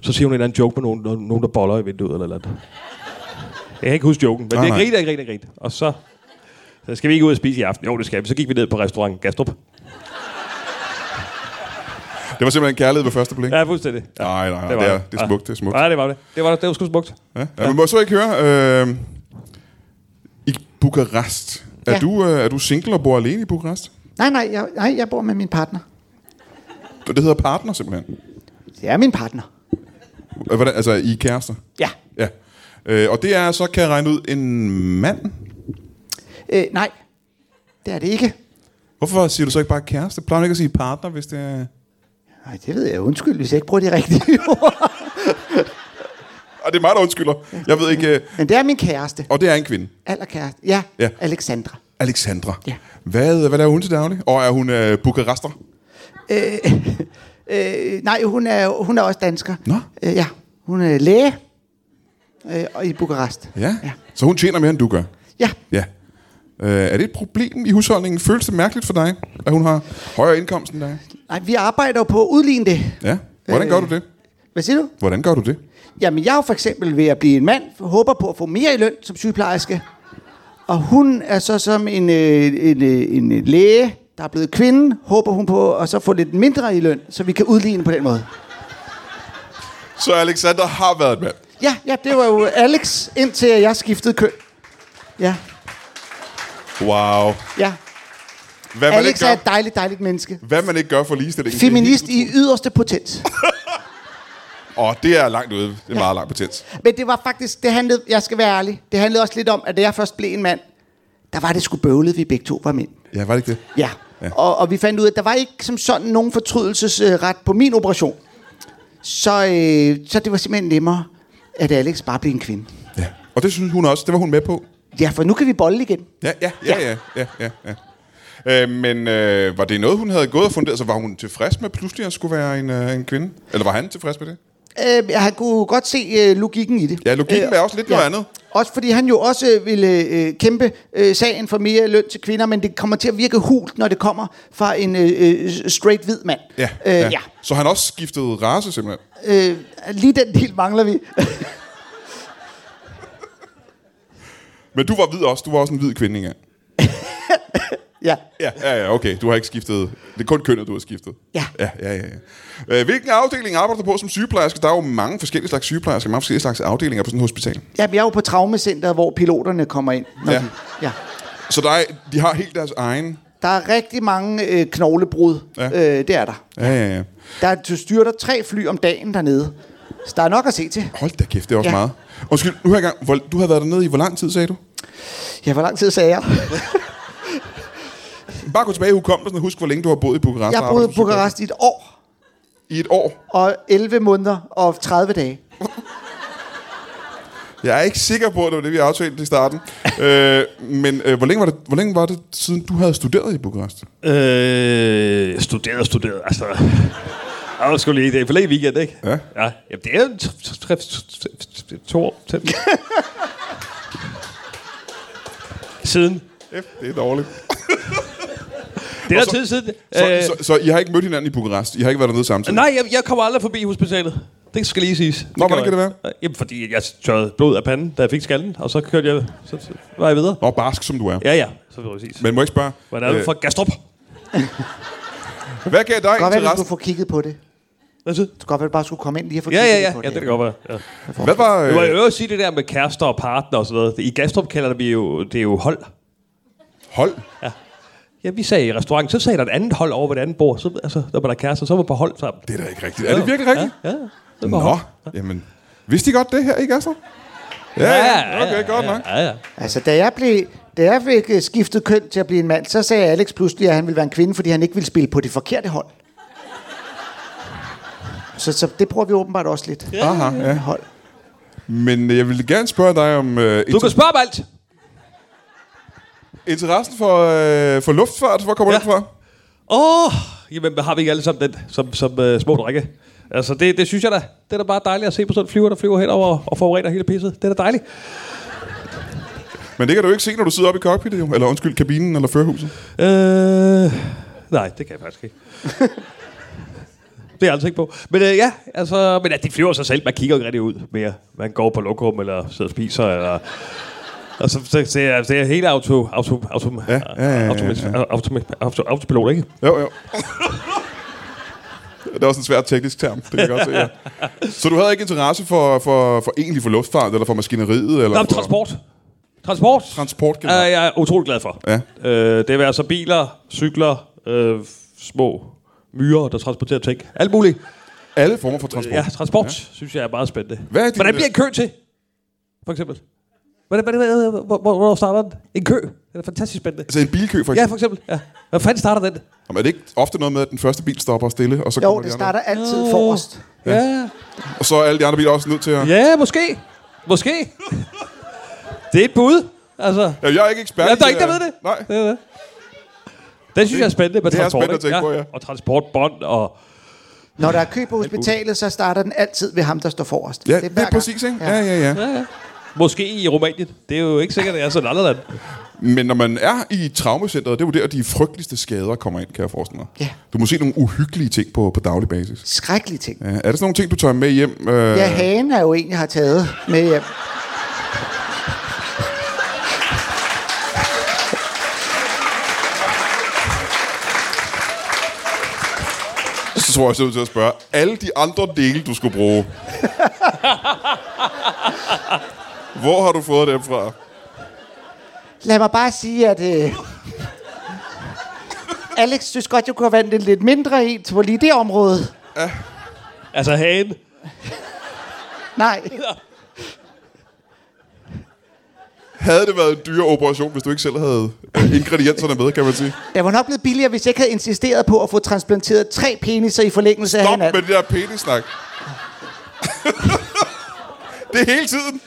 så siger hun en eller anden joke med nogen, nogen- nogen der boller i vinduet eller noget. Jeg kan ikke huske joken, men
Nej,
det er
nej.
grint, det er grint, det er grint. Og så, så skal vi ikke ud og spise i aften. Jo, det skal vi. Så gik vi ned på restaurant Gastrup.
Det var simpelthen kærlighed ved første blik.
Ja, fuldstændig. Ja,
Nej, nej, nej. Det, er, det er smukt, det er smukt.
Ja, det var det. Det var, det var sgu smukt.
Ja. Ja, men må jeg så ikke høre... Øh, I Bukarest. Er,
Ja.
du, øh, er du single og bor alene i Bukarest?
Nej, nej, jeg, nej, jeg bor med min partner.
Det hedder partner, simpelthen.
Det er min partner.
Øh, Hvordan, altså, I er kærester?
Ja.
Ja. Øh, og det er, så kan jeg regne ud, en mand?
Øh, nej, det er det ikke.
Hvorfor siger du så ikke bare kæreste? Plejer man ikke at sige partner, hvis det er...
Nej, det ved jeg. Undskyld, hvis jeg ikke bruger de rigtige *laughs* ord.
Og det er mig, der undskylder. Jeg ved ikke... Øh,
Men det er min kæreste.
og det er en kvinde.
Allerkæreste. Ja,
Ja.
ja. Alexandra.
Alexandra.
Ja.
Hvad, hvad laver hun til daglig? Og er hun øh, bukarester?
Øh, øh, nej, hun er, hun er også dansker.
Nå.
Øh, ja, hun er læge øh, og i Bukarest.
Ja.
Ja.
Så hun tjener mere, end du gør?
Ja,
Ja. Øh, er det et problem i husholdningen? Føles det mærkeligt for dig, at hun har højere indkomst end dig?
nej, vi arbejder jo på at udligne det.
Ja. Hvordan gør du det?
Hvad siger du?
Hvordan gør du det?
Jamen, jeg er jo for eksempel ved at blive en mand, håber på at få mere i løn som sygeplejerske. Og hun er så som en, øh, en, øh, en øh, læge, der er blevet kvinde, håber hun på at så få lidt mindre i løn, så vi kan udligne på den måde.
Så Alexander har været et mand.
Ja, ja, det var jo Alex, indtil jeg skiftede køn. Ja,
Wow.
ja.
Hvad man,
Alex
ikke
er
gør,
et dejligt, dejligt menneske.
hvad man ikke gør for ligestillingen. det er
Feminist
helt
i
utroligt.
yderste potens.
Åh, oh, det er langt ude. Det er ja. meget langt potens.
Men det var faktisk, det handlede, jeg skal være ærlig, det handlede også lidt om, at da jeg først blev en mand, der var det sgu bøvlet, vi begge to var mænd.
Ja, var det ikke det?
Ja.
Ja.
ja. Og, og vi fandt ud af, at der var ikke som sådan nogen fortrydelsesret på min operation. Så, øh, så det var simpelthen nemmere, at Alex bare blev en kvinde.
Ja. Og det synes hun også. Det var hun med på.
Ja, for nu kan vi bolle igen.
Ja, ja, ja, ja, ja, ja. ja. Øh, men øh, Altså, var det noget, hun havde gået og funderet? Så var hun tilfreds med pludselig at skulle være en, øh, en kvinde? Eller var han tilfreds med det?
Øh, han kunne godt se øh, logikken i det.
Øh, Ja, logikken er også lidt noget andet.
Også fordi han jo også øh, ville øh, kæmpe øh, sagen for mere løn til kvinder, men det kommer til at virke hult, når det kommer fra en øh, øh, straight hvid mand.
Ja,
øh, ja. ja.
Så han også skiftede race simpelthen.
Øh, lige den del mangler vi. *laughs*
Men du var hvid også. Du var også en hvid kvinde engang.
ja.
Ja, ja, ja, okay. Du har ikke skiftet. Det er kun kønnet, du har skiftet.
Ja.
Ja, ja, ja. ja. Øh, Hvilken afdeling arbejder du på som sygeplejerske? Der er jo mange forskellige slags sygeplejersker, mange forskellige slags afdelinger på sådan et hospital.
Jamen, jeg er jo på traumacenteret, hvor piloterne kommer ind. Når
Ja.
De, ja.
Så der er, de har helt deres egen...
Der er rigtig mange øh, knoglebrud.
Ja.
Ja. Øh, det er der.
Ja, ja, ja.
Der er- du styrter tre fly om dagen dernede. Så der er nok at se til.
Hold da kæft, det er også ja.
Ja.
meget. Undskyld, nu har jeg gang. Hvor, du har været dernede i hvor lang tid, sagde du?
Ja, hvor lang tid sagde jeg?
Bare gå tilbage i hukommelsen og husk, hvor længe du har boet i Bukarest.
Jeg
og
boede i
arbejdet som
Bukarest i et år,
sygeplejerske. I et år.
og 11 måneder og 30 dage.
Jeg er ikke sikker på, at det var det, vi aftalte i *laughs* starten. øh, men øh, hvor, længe var det, hvor længe var det, siden du havde studeret i Bukarest?
Øh, studeret og studeret, altså... Jeg var sgu lige det er forlæg weekend, ikke?
Ja.
ja. Jamen, det er jo t- t- tre- t- t- t- to år til. siden.
Ja, det er dårligt.
Det er
Og
der
så-
tid siden.
Så,
Øh,
så, så I har ikke mødt hinanden i Bukarest? I har ikke været dernede samtidig?
Nej, jeg, jeg kommer aldrig forbi hospitalet. Det skal lige siges.
Nå, hvordan
gør
kan
jeg
det
ikke. Jamen, fordi jeg tørrede blod af panden, da jeg fik skallen, og så kørte jeg, så, så var jeg videre.
Nå, barsk som du er. Ja.
Ja, ja, så vil jeg sige.
Men må jeg ikke spørge,
Hvordan er du
øh,
fra Gastrup?
hvad gav dig
Godt være, at du
interesse?
får kigget på det.
Hvad siger du?
Du kan godt være, at du bare skulle komme ind lige og få
Ja,
kigget
ja, ja.
lidt på
ja det kan godt være. Ja.
Hvad var...
Det var jo
Øh,
øvrigt at sige det der med kærester og partner og sådan noget. I Gastrup kalder det jo, det er jo hold.
øh, hold?
Ja, vi sagde i restauranten, så sagde der et andet hold over ved et andet bord. Så, altså, der var der kærester, så var man på hold sammen.
Det er da ikke rigtigt. Er det virkelig rigtigt?
Ja, ja. Det var
Nå,
hold.
jamen... Vidste I godt det her, ikke altså? Ja, ja, okay, godt
ja,
nok.
Ja, ja.
være. Altså, da jeg, blev, da jeg fik øh, skiftet køn til at blive en mand, så sagde Alex pludselig, at han ville være en kvinde, fordi han ikke ville spille på det forkerte hold. Så, så det bruger vi åbenbart også lidt. Ja.
Aha, ja.
Hold.
Men øh, jeg ville gerne spørge dig om øh,
Du kan
inter-
spørge om alt.
interessen for, øh, for luftfart. Hvor kommer ja.
Ja.
den fra?
Åh, oh, jamen har vi ikke alle sammen den som, som uh, små drikke? Altså, det, det synes jeg da. Det er da bare dejligt at se på sådan en flyver, der flyver henover og, og forurener hele pisset. Det er da dejligt.
Men det kan du jo ikke se, når du sidder oppe i cockpittet, jo. Eller undskyld, kabinen eller førhuset.
Øh, nej, det kan jeg
*laughs*
faktisk ikke. det er jeg altså ikke på. Men øh, ja, altså, men at de flyver sig selv. Man kigger jo ikke rigtig ud mere. Man går på lokum, eller sidder og spiser, eller... Og så, så, så er det er helt auto, auto, auto,
Ja, ja, ja, ja,
automat- automat- auto, autopilot, ikke?
Jo, *laughs* jo. det er også en svær teknisk term, det kan jeg godt se, ja. Så du havde ikke interesse for, for, for egentlig for luftfart, eller for maskineriet? Eller
Nå, men
for
transport. Transport.
Transport
er
generelt.
jeg utrolig glad for.
Ja.
Øh, det vil altså biler, cykler, øh, små myrer, der transporterer ting. Alt muligt.
Alle former for transport.
Øh, Ja, transport, ja. synes jeg er meget spændende.
Hvad er din-
Hvordan bliver en kø til? For eksempel. Hvordan, hvordan, hvordan, hvordan, hvor- hvornår starter den? En kø. Den er fantastisk spændende.
Altså en bilkø, for
Ja,
eksempel.
for eksempel. Ja. Hvad fanden starter den?
Ja. Jamen, er det ikke ofte noget med, at den første bil stopper stille, og så
Jo,
kommer
det
de andre?
starter altid forrest.
Ja,
Og så er alle de andre biler også nødt til at... Ja.
ja måske. Måske. det er et bud. Altså,
Jeg er ikke ekspert.
Ja,
i
der er ingen, der ved
her.
det.
Nej.
Det er det. Den synes jeg er spændende med
det er
transport.
spændende at tænke
ikke?
på, ja.
Og transportbånd og...
Når der er kø på hospitalet, så starter den altid ved ham, der står forrest.
Ja,
hver
det er
gang.
præcis, ikke? Ja, ja, ja. ja.
Måske i Rumænien. Det er jo ikke sikkert, at jeg er sådan andet land.
Men når man er i traumacenteret, det er jo der, de frygteligste skader kommer ind, kan jeg forestille mig.
Ja.
Du må se nogle uhyggelige ting på, på daglig basis.
Skrækkelige ting.
Ja, er det sådan nogle ting, du tager med hjem? Øh,
Ja, hagen er jo en, jeg har taget med hjem.
Så tror jeg, jeg er nødt til at spørge. Alle de andre dele, du skulle
*laughs*
bruge. Hvor har du fået dem fra?
Lad mig bare sige, at... Øh... Alex synes godt, jeg kunne have været en lidt mindre en på lige det område.
Altså hagen.
Nej,
Havde det været en dyre operation, hvis du ikke selv havde øh, ingredienserne med, kan man sige?
jeg var nok blevet billigere, hvis jeg ikke havde insisteret på at få transplanteret tre peniser i forlængelse af
Stop med
hinanden.
det der penissnak. *laughs* det er hele tiden.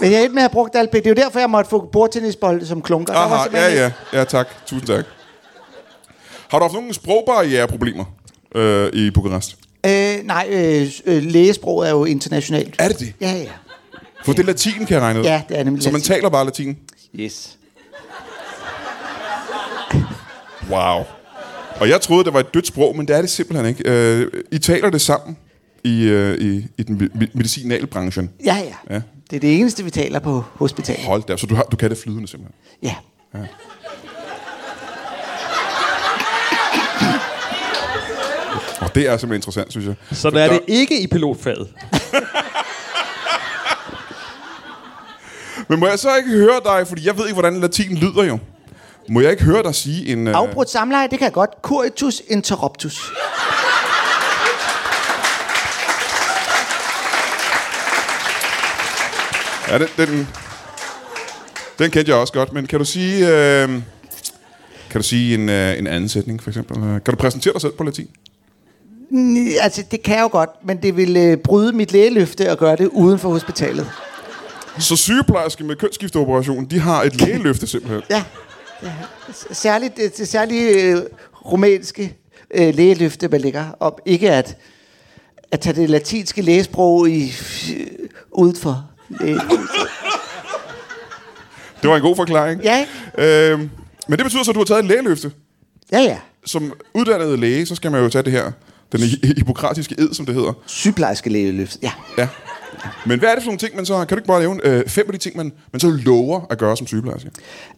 Men jeg endte med at have brugt alt det. Det er jo derfor, jeg måtte få bordtennisbolde som klunker. Der var
Aha, ja,
simpelthen
ja. Ja, tak. Tusind tak. Har du haft nogle sprogbarriereproblemer øh, i Bukarest?
Øh, nej, øh, øh, lægesprog er jo internationalt.
Er det det?
Ja, ja.
For det er latin, kan jeg regne ud.
Ja, det er nemlig
Så man
latin.
taler bare latin?
Yes.
Wow. Og jeg troede, det var et dødt sprog, men det er det simpelthen ikke. Øh, I taler det sammen i, øh, i, i den me- medicinalbranchen.
Ja, ja,
Ja.
ja. Det er det eneste, vi taler på hospitalet.
Hold da, op, så du, har, du kan det flydende simpelthen.
Ja.
Og det er simpelthen interessant, synes jeg.
Så der er det ikke i pilotfaget.
Men må jeg så ikke høre dig, fordi jeg ved ikke, hvordan latin lyder jo. Må jeg ikke høre dig sige en... Øh,
Afbrudt samleje, det kan jeg godt. Coitus interruptus.
ja, den, den, den kendte jeg også godt, men kan du sige... Øh, kan du sige en, øh, en anden sætning, for eksempel? Øh, Kan du præsentere dig selv på latin?
Mm, Altså, det kan jeg jo godt, men det vil øh, bryde mit lægeløfte at gøre det uden for hospitalet.
Så sygeplejerske med kønsskifteoperation, de har et lægeløfte simpelthen.
Ja. ja. S- Særligt det, det særlige øh, romanske øh, lægeløfte, man ligger om ikke at, at tage det latinske lægesprog i, øh, uden for læge.
Det var en god forklaring.
Ja.
Øh, men det betyder så, at du har taget et lægeløfte.
Ja, ja.
Som uddannet læge, så skal man jo tage det her, den hi- hippokratiske ed, som det hedder.
Sygeplejerske lægeløfte, ja.
Ja. Men hvad er det for nogle ting, man så har? Kan du ikke bare nævne øh, fem af de ting, man, man så lover at gøre som sygeplejerske?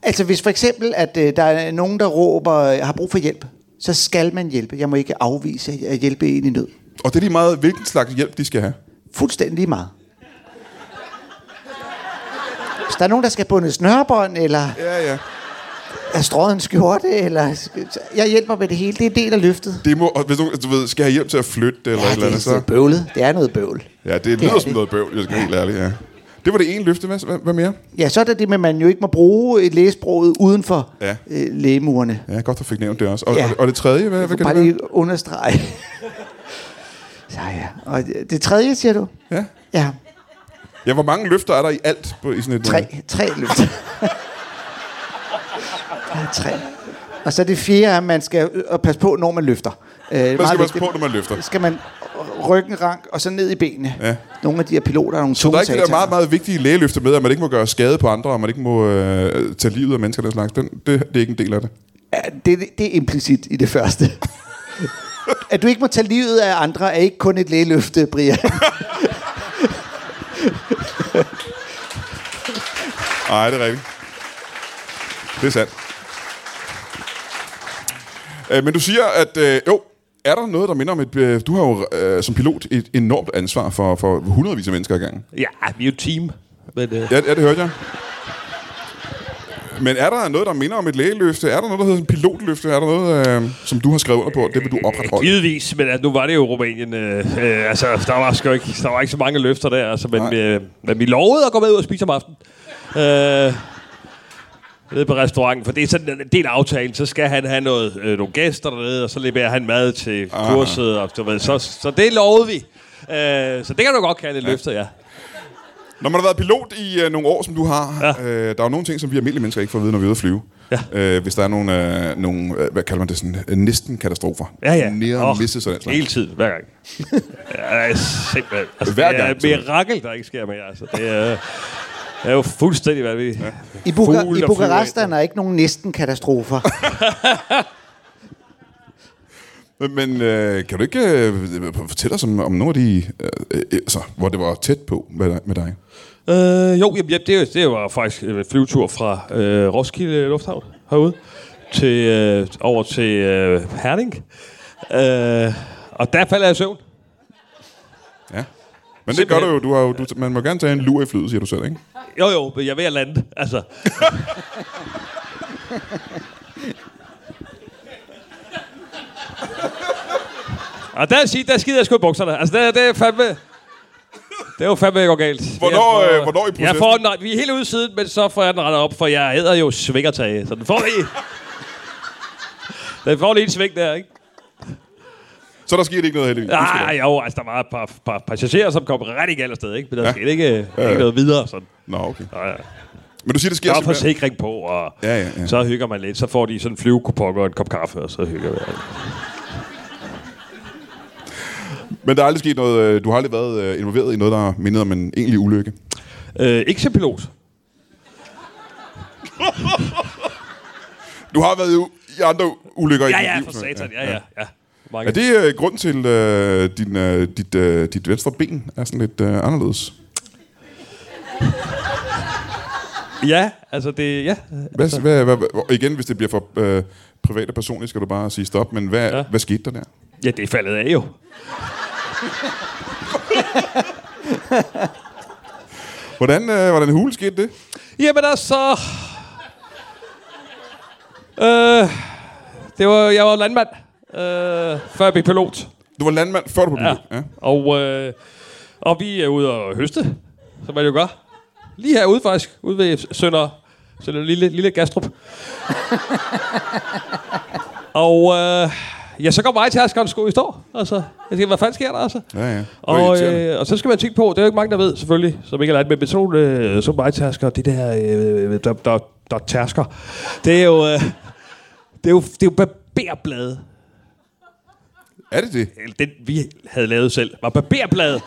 Altså hvis for eksempel, at øh, der er nogen, der råber, øh, har brug for hjælp, så skal man hjælpe. Jeg må ikke afvise at- at hjælpe en i nød.
Og det er lige meget, hvilken slags hjælp de skal have.
Fuldstændig lige meget. Hvis der er nogen, der skal bunde snørbånd, eller
Ja, ja.
er strøget en skjorte, eller... sk- Jeg hjælper med det hele. Det er en del af løftet.
Det må, og hvis du, du ved, skal have hjælp til at flytte eller ja, et
det
eller
er
andet,
så...
så...
bøvlet. Det er noget bøvl.
Ja, det lyder som noget bøvl, jeg skal være helt ærlig, ja. Det var det ene løfte. Hvad, hvad, hvad mere?
Ja, så er der det med, at man jo ikke må bruge et lægesproget uden for
Ja.
ja. øh, lægemurene.
Ja, godt, du fik nævnt det også. Og, ja.
Ja.
og, og det tredje, hvad, hvad kan
Bare
det være?
lige understrege. *laughs* så ja. Og det det tredje, siger du?
Ja.
Ja,
ja, hvor mange løfter er der i alt på, i sådan et...
tre, tre løft. Der er tre. Og så det fjerde er, at man skal øh, at passe på, når man løfter. Øh, man
Man skal passe på, når man løfter.
skal man ryggen rank og så ned i benene.
Ja.
Nogle af de her piloter er nogle
Så der er
tunge
ikke det der
sataner.
meget, meget vigtige lægeløfte med, at man ikke må gøre skade på andre, og man ikke må øh, tage livet af mennesker og den slags. Den, det, det er ikke en del af det.
Ja, det, det er implicit i det
*laughs*
første. at du ikke må tage livet af andre, er ikke kun et lægeløfte, Brian.
Nej, det er rigtigt. Det er sandt. Øh, men du siger, at øh, jo, er der noget, der minder om et... Øh, du har jo øh, som pilot et enormt ansvar for, for hundredvis af mennesker ad gangen.
Ja, vi er jo et team. Men, øh,
Ja, ja, det hørte jeg. Men er der noget, der minder om et lægeløfte? Er der noget, der hedder en pilotløfte? Er der noget, øh, som du har skrevet under på, at det vil du opretholde?
Givetvis, men altså, nu var det jo Rumænien. Øh, øh, altså, der var, sgu ikke, der var ikke så mange løfter der. Altså, men,
Nej.
øh, men vi lovede at gå med ud og spise om aftenen. Øh, nede på restauranten, for det er sådan en del af aftalen. Så skal han have noget, øh, nogle gæster dernede, og så leverer han mad til
Ah.
kurset. Og, du ved, så, så det lovede vi. Øh, så det kan du godt kalde et ja. løfter, ja.
Når man har været pilot i øh, nogle år, som du har, ja. øh, der er jo nogle ting, som vi almindelige mennesker ikke får at vide, når vi er ude at flyve.
Ja.
Øh, hvis der er nogle, øh, nogle øh, hvad kalder man det, sådan, øh, næsten katastrofer.
Ja, ja.
Nære oh,
Åh,
misses og den slags.
Hele tiden, hver
*laughs*
gang. ja, det er simpelthen. Altså,
Hver gang,
Det er et
simpelthen.
mirakel, der ikke sker mere. Altså, det er, det er jo fuldstændig vanvittigt. Ja.
I, Buka-
Fugle,
I
der
Bukarest
flyver
er der ikke nogen næsten katastrofer.
Men, men øh, kan du ikke øh, fortælle os om, om nogle af de, øh, øh, altså, hvor det var tæt på med dig? Med dig?
Øh, jo, jamen, ja, det, det var faktisk en flyvetur fra øh, Roskilde Lufthavn herude til, øh, over til øh, Herning. Øh, og der falder jeg i søvn.
Ja. Men det gør du
Simpelthen.
jo. Du har jo du, man må gerne tage en lur i flyet, siger du selv, ikke?
Jo, jo, men jeg er ved at lande.
*laughs*
Altså, og der, sig- der skider jeg sgu i bukserne. Altså, det, det er fandme... Det er jo fandme ikke galt.
Hvornår,
Jeg får-
øh, hvornår i
Jeg
processen?
får den, vi er helt ude i siden, men så får jeg den rettet op, for jeg æder jo svingertage. Så den får lige... Den får lige en sving der, ikke?
Så der sker det ikke noget heldigvis.
Nej, jo, altså der var et par, par passagerer, som kom rigtig galt afsted, ikke? Men der ja. skete ikke, ikke noget videre, sådan.
Nå, okay.
Nå, ja.
Men du siger, det sker
Der er
simpelthen.
forsikring på, og
Ja, ja, ja.
så hygger man lidt. Så får de sådan en flyvekupon og en kop kaffe, og så hygger vi.
Men der er aldrig sket noget, øh, du har aldrig været øh, involveret i noget, der mindede om en egentlig ulykke.
Øh, ikke som pilot.
Du har været i, u- i andre u- ulykker i
Ja,
dit
ja,
liv,
for
så-
satan. Ja, ja, ja. Mange.
Er det øh, grund til, øh, din, øh, dit, øh, dit venstre ben er sådan lidt øh, anderledes?
Ja, altså det... Ja. Altså-
Hvad, hvad, hvad, hvad, og igen, hvis det bliver for øh, privat og personligt, skal du bare sige stop, men hvad, ja.
Ja.
hvad skete der der?
Ja, det er faldet af jo.
Hvordan, øh, hvordan hul skete det?
Jamen altså... Øh, det var, jeg var landmand, øh, før jeg blev pilot.
Du var landmand, før du blev
Ja.
pilot. Ja.
Og, øh, og vi er ude og høste, som man jo gør. Lige herude faktisk, ude ved Sønder, Sønder lille, lille
*laughs*
Gastrup. og øh, ja, så går mig til at skal sko i stå. Altså, jeg tænker, hvad fanden sker der altså?
Ja, ja. Det var
Og,
irriterende.
øh, og så skal man tænke på, det er jo ikke mange, der ved selvfølgelig, som ikke er lært med, men sådan nogle, øh, som mig tærsker, det der, øh, der, der, der tærsker, det er jo, øh, det er jo, det er jo barberblade.
Er det det?
Eller Den, vi havde lavet selv, var barberblade,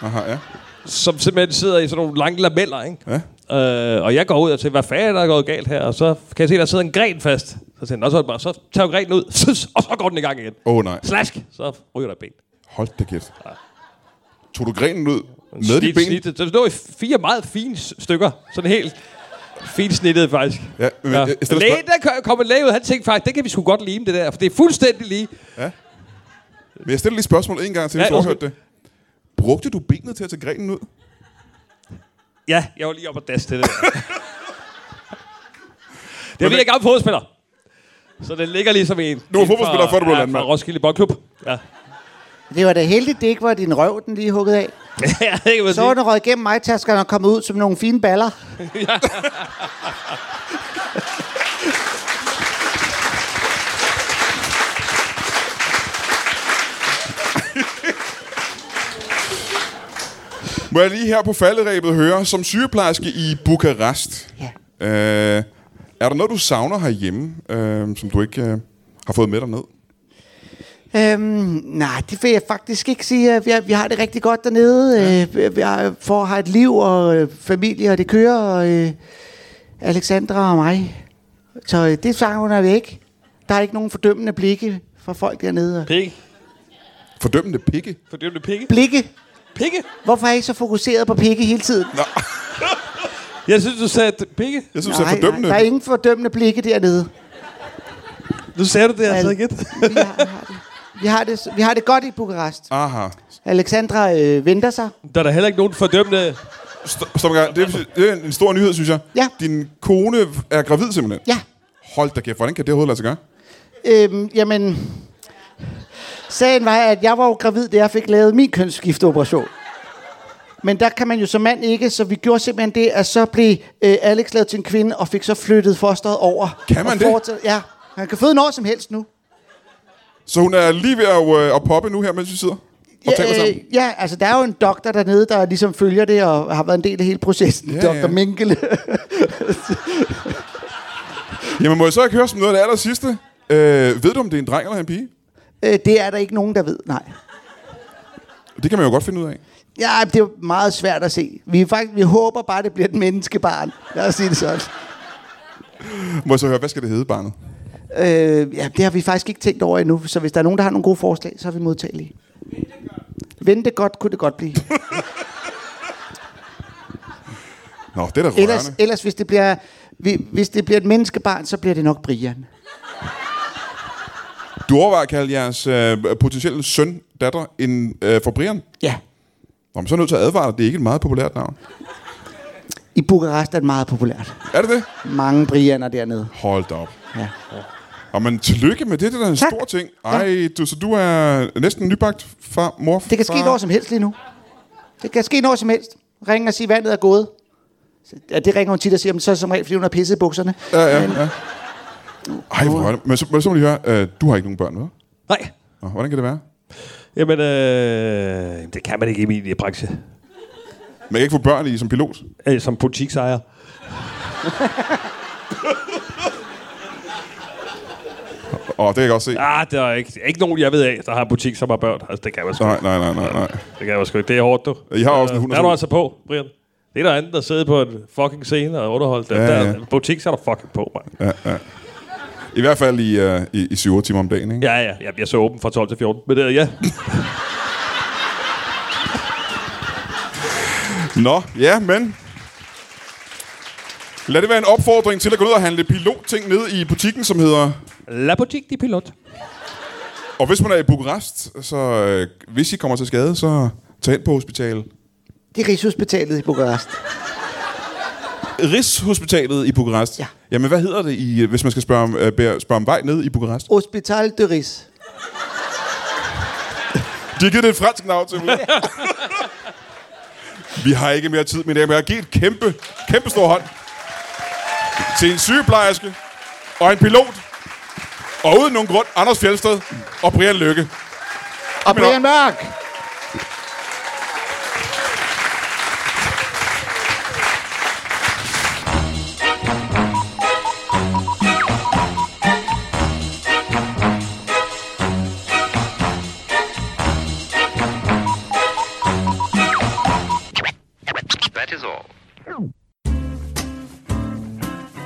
Aha, ja.
som simpelthen sidder i sådan nogle lange lameller, ikke?
ja.
Øh, og jeg går ud og tænker, hvad fanden er der gået galt her? Og så kan jeg se, der sidder en gren fast. Så tænker jeg, "Nå, så, er det bare, så tager jeg grenen ud, *laughs* og så går den i gang igen.
Åh oh, nej,
Slask! Så ryger der et ben.
hold da kæft. Tog du grenen ud med dit ben?
Snittet. Det lå i fire meget fine s- stykker. Sådan helt fint snittet, faktisk.
Ja, men jeg- jeg stiller
Lægen, der kom- kom en læge ud, han tænkte faktisk, det kan vi sgu godt lime det der, for det er fuldstændig lige.
Men jeg stiller lige spørgsmålet en gang til, hvis
Ja,
du har hørt det. Brugte du benet til at tage grenen ud?
Ja, jeg var lige oppe og dash til det. *laughs* der. det er fordi, jeg er gammel fodspiller. Så det ligger ligesom en.
Du var fodboldspiller, før du blev
ja,
landmand.
Fra Roskilde Boldklub. *laughs* Ja.
Det var da heldigt, det ikke var din røv, den lige hugget af.
jeg ved ikke, hvad
Så var den røget gennem mig, taskerne og kommet ud som nogle fine baller.
Må jeg lige her på falderæbet høre, som sygeplejerske i Bukarest,
Ja.
øh, er der noget, du savner herhjemme, øh, som du ikke øh, har fået med dig ned?
Øhm, nej, det vil jeg faktisk ikke sige. Vi, har- vi har det rigtig godt dernede. Øh, vi- vi har, for har et liv og øh, familie, og det kører. Og, øh, Alexandra og mig. Så øh, det savner vi ikke. Der er ikke nogen fordømmende blikke fra folk dernede.
Pikke.
Fordømmende pikke?
For det er jo pikke.
Blikke?
Pikke?
Hvorfor er I så fokuseret på pikke hele tiden?
Jeg synes, du sagde pikke.
Jeg synes, det er fordømmende.
der er ingen fordømmende blikke dernede.
Nu sagde du det, jeg sad igen.
Vi har, har det. Vi, har det, vi har det godt i Bukarest.
Aha.
Alexandra øh, venter sig.
*laughs* Der er der heller ikke nogen fordømmende...
St- stop en gang. Det, er, det er en stor nyhed, synes jeg.
Ja.
Din kone er gravid simpelthen.
Ja.
Hold da kæft, hvordan kan det overhovedet lade sig gøre?
Øhm, jamen, sagen var, at jeg var jo gravid, da jeg fik lavet min kønsskifteoperation. Men der kan man jo som mand ikke, så vi gjorde simpelthen det, at så blev øh, Alex lavet til en kvinde, og fik så flyttet fosteret over.
Kan man
Og
det?
fortsat- Ja, han kan føde når som helst nu.
Så hun er lige ved at, øh, at poppe nu her, mens vi sidder og taler
ja,
sammen.
ja, altså der er jo en doktor dernede, der ligesom følger det, og har været en del af hele processen.
Ja,
Ja, Dr.
ja.
Ja. Minkele. Øh.
Jamen, må jeg så ikke høre som noget af det aller sidste? Øh, ved du, om det er en dreng eller en pige?
*laughs* Øh, det er der ikke nogen, der ved, nej.
Det kan man jo godt finde ud af.
Ja, det er jo meget svært at se. Vi, er faktisk, vi håber bare, det bliver et menneskebarn. Lad os sige det sådan.
Må jeg så høre, hvad skal det hedde, barnet?
Øh, ja, det har vi faktisk ikke tænkt over endnu, så hvis der er nogen, der har nogle gode forslag, så er vi modtagelige. Vente godt, kunne det godt blive.
Nå, det er da rørende.
Ellers, ellers hvis, det bliver, vi- hvis det bliver et menneskebarn, så bliver det nok Brian.
Du overvejer at kalde jeres øh, potentielle søn, datter, en øh, for Brian?
Ja.
Nå, men så er jeg nødt til at advare dig, det er ikke et meget populært navn.
I Bukarest er det meget populært.
Er det det?
Mange Brianer dernede.
Hold da op.
Ja.
Og men tillykke med det, det er da en
Tak.
stor ting. Ej, du, så du er næsten nybagt far, mor,
Det kan ske
far.
når som helst lige nu. Det kan ske når som helst. Ring og sige, vandet er gået. Så- Ja, det ringer hun tit og siger, men så er det som regel, fordi hun har pisset i bukserne.
Ja, ja, ja. Ej, hvor er det. Men så, men så må jeg lige høre, øh, du har ikke nogen børn, hvad?
Nej.
Nå, hvordan kan det være?
Jamen, øh, det kan man ikke i min branche.
Man kan ikke få børn i som pilot.
Øh, som butiksejer.
Åh, det kan jeg godt se.
Ah, der er ikke, ikke nogen, jeg ved af, der har en butik, som har børn. Altså, det kan man sgu
Nej,
ikke.
nej, nej, nej, nej.
Det kan man sgu ikke. Det er hårdt, du.
I har også en
Øh,
hund og
Der er du
to.
altså på, Brian. Det er der andet, der sidder på en fucking scene og underholder dem.
Ja,
Ja,
ja.
ja. Der er en butik, så er der fucking på, mand. Ja.
I hvert fald i, uh, i, i 7 timer om dagen, ikke?
ja, ja. Jeg bliver så åben fra 12 til 14. Men uh, ja,
Nå, ja, men... Lad det være en opfordring til at gå ned og handle pilotting nede i butikken, som hedder...
La Boutique de Pilot.
Og hvis man er i Bukarest, så øh, hvis I kommer til skade, så tag ind på hospitalet.
Det er Rigshospitalet i Bukarest.
Rigshospitalet i Bukarest.
Ja.
Jamen, hvad hedder det, i, øh, hvis man skal spørge om, øh, bære- spørge om vej ned i Bukarest?
Hospital de Rigs.
De har givet det et fransk navn til mig. Vi har ikke mere tid, mine damer. Jeg har givet et kæmpe, kæmpe stor hånd til en sygeplejerske og en pilot. Og uden nogen grund, Anders Fjeldsted og Brian Lykke.
Og
Men op.
Brian Mørk!
That is all.